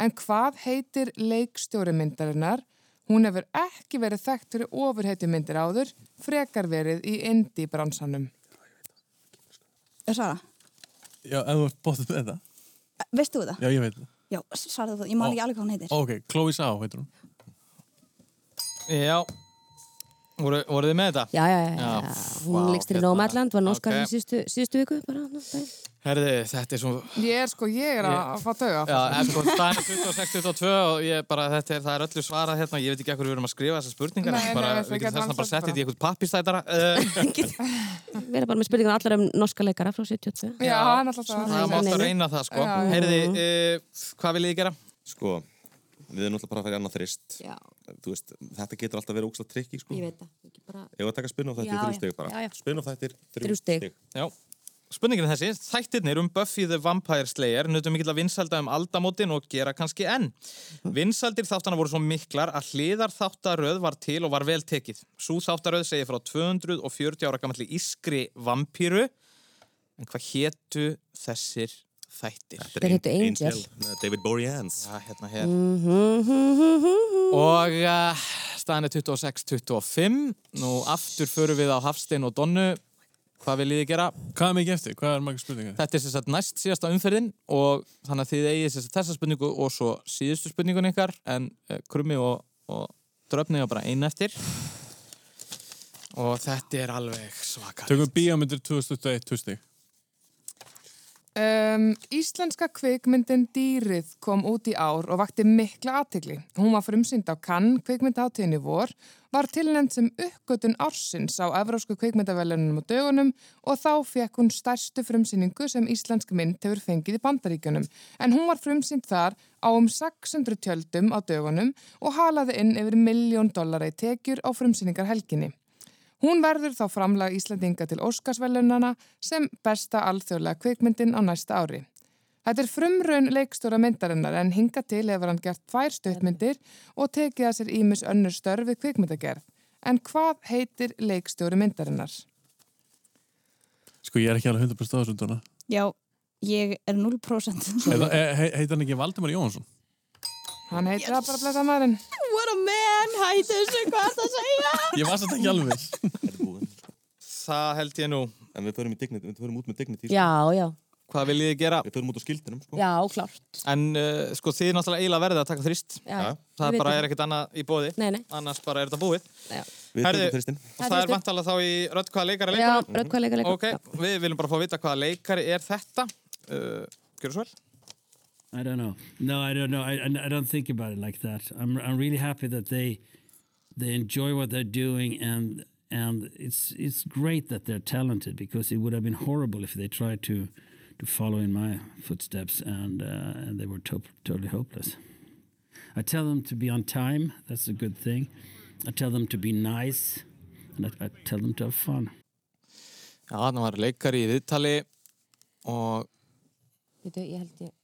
S2: En hvað heitir leikstjóri myndarinnar? Hún hefur ekki verið þekkt fyrir ofurheitjum myndir áður, frekar verið í indie bransanum.
S5: Sara, Eh,
S6: Já, ef þú ert bóttið með þetta.
S5: veistu þú það?
S6: Já, ég veit það.
S5: Já, Sara, þú, ég man ekki alveg hvað hún heitir
S6: Ok, Chloe Sá heitir hún.
S1: já Voru, voruð þið með þetta?
S3: já, já, já, já,
S1: Já,
S3: hún
S1: vá,
S3: leikst í
S1: hérna.
S3: Nómadland var
S1: Ok.
S3: norskar okay. síðustu, síðustu viku bara, ná, daginn.
S1: Herði, þetta er svo
S2: Ég er sko, ég er að fá tauga.
S1: Já, en sko, staðan er 26-22 og ég bara, þetta er, það er öllu svarað hérna, ég veit ekki ekkur við erum að skrifa þessar spurningar,
S2: Nei,
S1: en
S2: nei,
S1: bara, við
S2: nei, við
S1: getum
S2: getum
S1: þess að bara
S2: ansað
S1: setja
S2: bara.
S1: þetta í eitthvað pappistætara.
S2: (laughs)
S1: Uh,
S3: við erum bara með spurningar allar um norska leikara frá
S2: Já,
S3: 72
S2: það er alltaf
S3: Svona.
S1: það
S3: nei,
S1: mátt
S3: nei,
S1: að
S3: nei.
S1: reyna það, sko.
S2: Já, já.
S1: Heyrði, uh, hvað viljið þið gera?
S4: Sko, við erum náttúrulega bara að fara í annað þrist.
S3: já,
S4: Þú veist, þetta getur alltaf verið ógslag trikki, sko.
S3: ég veit það Ekki bara...
S4: Ég var að taka spinn á þættir,
S3: Já,
S4: þrjú
S3: já.
S4: stig bara.
S3: Já, já.
S4: Spinn á þættir,
S3: Þrjú stig.
S1: Já, spurningin er þessi, þættirnir um Buffy the Vampire Slayer nutum mikill að vinsalda um aldamótin og gera kannski enn. Vinsaldir þáttana voru svo miklar að hliðar þáttaröð var til og var vel tekið. Sú þáttaröð segir frá 240 ára gamalli ískri vampíru, en hvað hétu þessir þættir?
S4: Þetta
S3: Þeir
S4: Ein-
S3: heitu Angel.
S4: með David Boreans.
S1: Já, hérna hér.
S3: Mm-hmm,
S1: Og uh, staðan er 26-25. Nú aftur förum við á Hafstein og Donnu. Hvað viljið þið gera?
S6: Hvað er mikið eftir? Hvað er margir spurningar?
S1: Þetta er sem sagt næst síðasta umferðin og þannig að þið eigið sem sagt þessa spurningu og svo síðustu spurningun ykkar en uh, krummi og, og dröfni og bara einn eftir. Og þetta er alveg svakar.
S6: Tökum bíómyndir 2021, 2 steg.
S2: Um, íslenska kvikmyndin Dýrið kom út í ár og vakti mikla aðtegli. Hún var frumsýnd á Cannes kvikmyndahátíðinni í vor, var tilnæmt sem uppgötun ársins á Evrósku kvikmyndavelunum og dögunum og þá fekk hún stærstu frumsýningu sem íslensk mynd hefur fengið í bandaríkjunum. En hún var frumsýnd þar á um 600 tjöldum á dögunum og halaði inn yfir miljón dollara í tekjur á frumsýningarhelginni. Hún verður þá framlag Íslandinga til Óskarsvelunana sem besta alþjóðlega kvikmyndin á næsta ári. Þetta er frumraun leikstóra myndarinnar en hinga til hefur hann gert tvær stöttmyndir og tekið að sér ímis önnur störfi kvikmyndagerð. En hvað heitir leikstjóri myndarinnar?
S6: Sko, ég er ekki alveg 100% á þessu tónu.
S5: Já, ég er 0%
S6: Heitir hann ekki Valdimar Jóhansson?
S2: Hann heitir það bara blessa maðurinn.
S5: (laughs) What a man, hætti þessu, hvað það segja
S6: Ég var satt ekki alveg viss.
S4: Þetta er búinn.
S1: Það held ég nú.
S4: En við förum, í dignity, við förum út með dignity. sko.
S3: já, já,
S1: hvað viljið þið gera
S4: Við förum út á skildinum, sko.
S3: Já, klárt.
S1: en uh, sko þið náttúrulega eiginlega verðið að taka þrist
S3: Já,
S4: Já,
S1: það
S3: við
S1: bara
S3: vitum
S1: er ekkert annað í bóði
S3: Nei, nei.
S1: annars bara er þetta búið
S3: Já,
S4: Við
S1: Herðu.
S4: tökum þristinn.
S1: og
S3: Það
S1: það er
S3: veistu.
S1: vantala þá í rödd hvaða leikara
S3: já
S1: leikara
S3: rödd hvað leika leika.
S1: ok, við viljum bara fá að vita hvaða leikari er þetta uh, gjörðu svo vel
S9: I don't know. No, I don't know. I, I, I don't think about it like that. I'm I'm really happy that they they enjoy what they're doing and and it's it's great that they're talented because it would have been horrible if they tried to to follow in my footsteps and uh, and they were to- totally hopeless. I tell them to be on time. That's a good thing. I tell them to be nice, and I, I uh, tell them to have fun.
S1: já, þannig var leikari í viðtali og
S3: Veitu, ég held ég...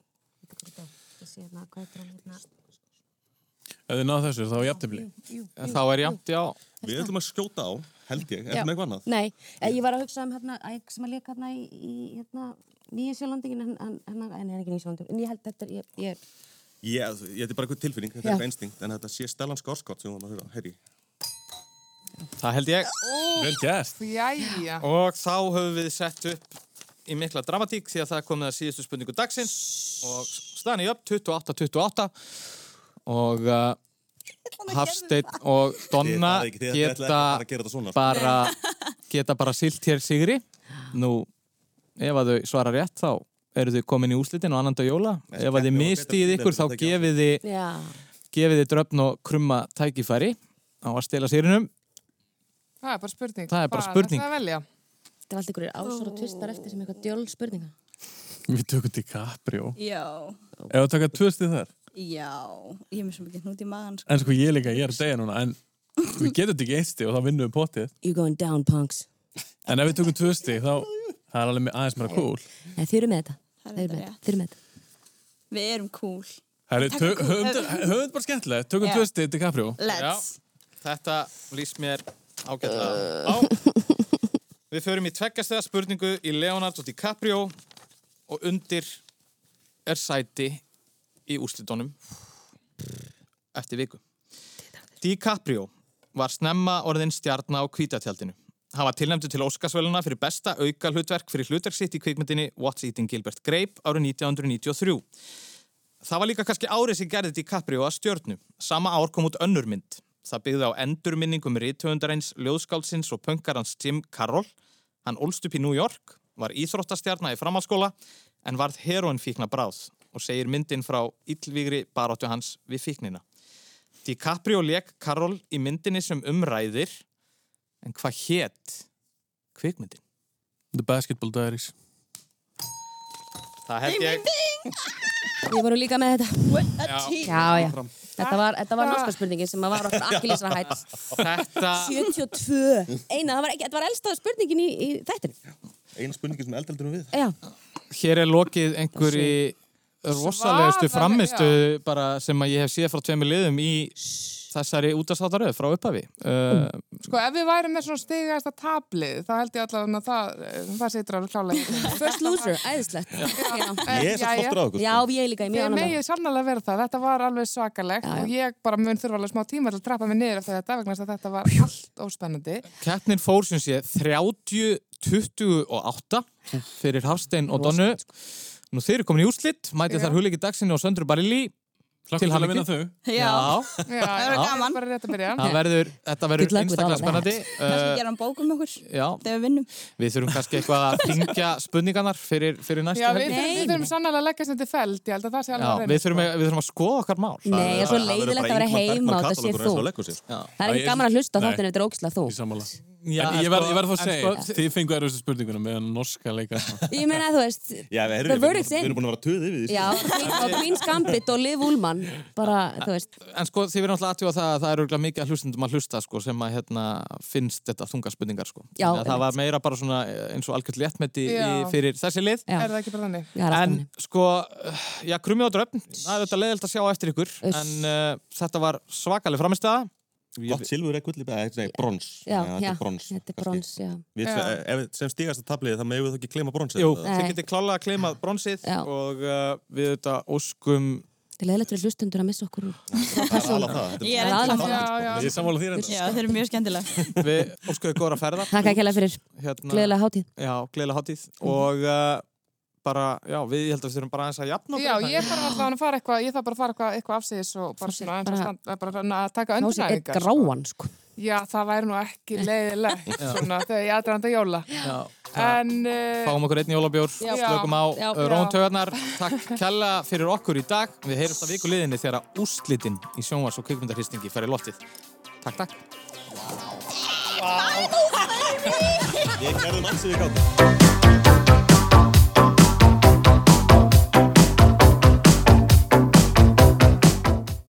S3: veitu hvað þetta er? Ég sé hérna, hvað heitir hann hérna?
S6: Ef þið náðu þessu, þá er jafntefli.
S3: Jú,
S1: þá er jæmt, já
S4: Við ætlum að skjóta á, held ég, eftir
S3: Já.
S4: með eitthvað annað.
S3: Nei, eh, ég var að hugsa um hérna, æg sem að leika hérna í, í hérna, Nýja Sjálandingin, en hann hann- hann er ekki Nýja Sjálandingin, en ég held þetta, ég, ég,
S4: Ég, ég, þetta er bara eitthvað tilfinning,
S3: Já.
S4: þetta er eitthvað instinkt, en þetta sé Stellan Skarsgård sem við varum að um. höra, herri.
S1: það held ég
S6: Vel gert.
S2: Jæja.
S1: Og þá höfum við sett upp í mikla dramatík því að það er komið að síðustu spurningu dagsins og staðan í upp 28-28 og uh, Hafsteinn og Donna
S4: Þið- það er ekki- þið- þið ætlaði
S1: geta
S4: ekki að fara að gera þetta svona, sko.
S1: bara geta bara silt hér sigri nú ef að þau svara rétt þá eru þau komin í úslitin og annan dag jóla ef
S4: Þessi
S1: að þið
S4: keppni var
S1: mistið
S4: betra-
S1: ykkur þá
S4: betra tæki
S1: gefið þið
S3: já,
S1: gefið þið dröfn og krumma tækifæri á að stela sigrinum
S2: Það er bara spurning.
S1: Það er bara spurning.
S2: Hvað er það að velja?
S3: það er alltaf ykkur ásar og tvistar eftir sem eitthvað djöl spurninga.
S6: Við tökum til Caprio.
S5: Já,
S6: Ef við taka tvö stið þar.
S5: já, ég er með svo mikið hnút í maðan sko.
S6: En sko ég líka, ég er að segja núna, en við getum þetta ekki eitt stið og þá vinnum við potið.
S3: You going down, punks.
S6: En ef við tökum tvö stið, þá það er alveg aðeins meira cool.
S3: Nei, þið eru með þetta,
S5: Það er
S3: þið eru
S5: þetta
S3: með þetta,
S5: rétt.
S3: þið eru með þetta.
S5: Við erum cool.
S6: Herri,
S5: Taka
S6: tök-
S5: cool.
S6: höfum höfum þetta bara skemmtilega, tökum
S5: Já.
S6: tvö stið til Caprio.
S5: Let's.
S1: Þetta líst mér ágætlega á. Við förum í tveggjastega spurningu í Leonardo DiCaprio og undir er sæti í úrslitunum eftir viku. DiCaprio var snemma orðin stjarna á kvítatjaldinu. Hann var tilnæmdu til Óskarsveluna fyrir besta auka hlutverk fyrir hlutverk sitt í kvikmyndinni What's Eating Gilbert Grape árið 1993. Það var líka kannski árið sem gerði DiCaprio að stjörnu. Sama ár kom út önnur mynd. Það byggði á endurminningum rithöfundarins, ljóðskálsins og pönkarans Jim Carroll. Hann ólst upp í New York, var íþróttastjarna í framhalskóla en varð heroin fíkna bráð og segir myndin frá illvígri baráttu hans við fíknina. DiCaprio leik Carroll í myndinni sem umræðir en hvað hétt kvikmyndin?
S6: The Basketball Diaries.
S1: Það held ég...
S3: Við vorum líka með þetta.
S1: Já,
S3: Já, já, þetta var, þetta
S5: Ah.
S3: var norskar sem að var okkur akkilísra hætt.
S1: þetta...
S3: 72, eina, það var ekki, þetta var elstaðu spurningin í, í þættinu.
S4: Eina spurningi sem eldeldur um við.
S3: Já,
S1: hér er lokið einhverju rosalegustu
S2: Svaðaleg-
S1: framistu bara sem að ég hef séð frá tveimur liðum í þessari útastáttaröð frá upphafi uh,
S2: Sko, ef við værum með svona stigast að tablið, þá held ég allavega að það, eh, það situr alveg klálega.
S3: first loser, æðislegt. Já,
S4: Ég er svo flottur á okkur. sko.
S3: já, ég líka, ég
S2: Ég
S3: mjög
S2: megi
S3: annað.
S2: sannlega verða það, þetta var alveg svakalegt
S3: já.
S2: og ég bara mun þurfa alveg smá tíma til að trappa mig niður eftir þetta vegna þess að þetta var allt óspennandi.
S1: keppnin fór sem sé 30 28 fyrir Hafstein og Donnu nú þeir eru komin í úrslit mætið þar huligi dagsinu og söndru Barilli
S6: Hlakkum
S1: Til
S6: til að
S1: hamingju.
S6: vinna þau.
S5: Já,
S2: Já, það
S5: var gaman.
S2: Bara rétt að byrja.
S1: það verður, þetta
S3: Good
S1: verður
S3: luck with all
S1: einstaklega
S3: of
S1: spennandi
S5: kannski
S1: uh,
S5: gera hann bók um okkur
S1: já,
S5: þegar við vinnum.
S1: við þurfum kannski eitthvað að fingja spurningarnar fyrir, fyrir næstu
S2: Já, við
S1: helgi
S2: þurfum, við þurfum sannlega að leggja sem þetta feld, ég held að það sé
S1: Já,
S2: alveg
S1: við þurfum, við þurfum að skoða okkar mál
S3: Nei, ég er svo
S4: Það verður
S3: leiðilegt
S4: bara
S3: að vera
S4: Ingmar
S3: heima
S4: Bergman
S3: og þetta sé
S4: katalógur eins og
S3: þú.
S4: leggur sér.
S3: Það er
S6: Já,
S3: ekki
S6: ég-
S3: gaman að hlusta á
S6: Nei.
S3: þáttin eftir ógislega þú.
S6: Í sammála.
S1: Já,
S6: en
S1: en
S6: ég verð
S1: sko-
S6: verð þá að
S1: en
S6: segja,
S1: sko-
S6: þið fengu erfiðstu spurninguna með norska leika.
S3: Ég meina, þú veist,
S4: Já, við
S3: The
S4: erum, við,
S3: verdict's
S4: erum,
S3: in.
S4: við erum búin að vera töð yfir því. sko.
S3: Já, og Queen's Gambit og Liv Ullmann, bara, þú veist,
S1: En sko, þið verðum alltaf aðtjóða það að það er örugglega mikið að hlustendum að hlusta sko, sem að hérna, finnst þetta þunga spurningar sko.
S3: Já,
S1: Þannig að það
S3: einmitt.
S1: var meira bara svona eh, eins og algjörð léttmeti í,
S2: Já.
S1: fyrir þessi lið
S3: já,
S2: Er það ekki bara þannig?
S3: já,
S1: En
S3: en,
S1: sko, eh, já, krummi á dröfn það er auðvitað leiðilt að sjá á eftir ykkur
S3: Uss.
S1: en uh, þetta var svakaleg framistæða
S4: Gott silfur eða gull í bæði, nei, brons.
S3: já,
S4: þetta
S3: já,
S4: er brons.
S3: þetta er
S4: kannski.
S3: brons, já.
S4: Við, ef, sem stígast að tabliði, það meðum við þá ekki klema bronsið.
S1: Jú,
S4: eða?
S1: þið
S3: Nei.
S1: getið klálega að kleima bronsið
S3: Eh. Já.
S1: og uh, við þetta óskum
S3: Þetta er leðilegt fyrir hlustendur að missa okkur. úr-
S4: Það er alveg það. Þetta
S5: Ég
S4: er sko.
S5: er
S3: Það er
S5: enda
S3: alveg-
S2: Já, já.
S6: Ég er sammála þér enda.
S5: Já, þeir eru mjög skemmtilega.
S1: við óskuðu góðra ferða
S3: Takk ekki fyrir
S1: hérna,
S3: gleðilega hátíð.
S1: Já, gleðilega hátíð og uh, bara, já, við ég held að við þurfum bara aðeins að jafna okkur
S2: Já,
S1: hérna.
S2: ég þarf alltaf að fara eitthvað, ég þarf bara að fara eitthvað, eitthvað afsýðis og bara svona aðeins að
S3: bara-
S2: standa, bara svona að taka
S3: Ná sér eitt
S2: undirsæðingar.
S3: gráan, sko.
S2: Já, það væri nú ekki leiðilegt svona þegar ég aðdraðan að jóla.
S1: Já, það-
S2: En, uh,
S1: Fáum okkur einn jólabjór,
S3: Já.
S1: slökum á
S3: Já.
S1: róntöðarnar. Takk kella fyrir okkur í dag. Við heyrumst að vikuliðinni þegar úrslitin í sjónvars- og kvikmyndarhýstingi fer í loftið. Takk, takk.
S4: Ég gerði mannsið í gátt.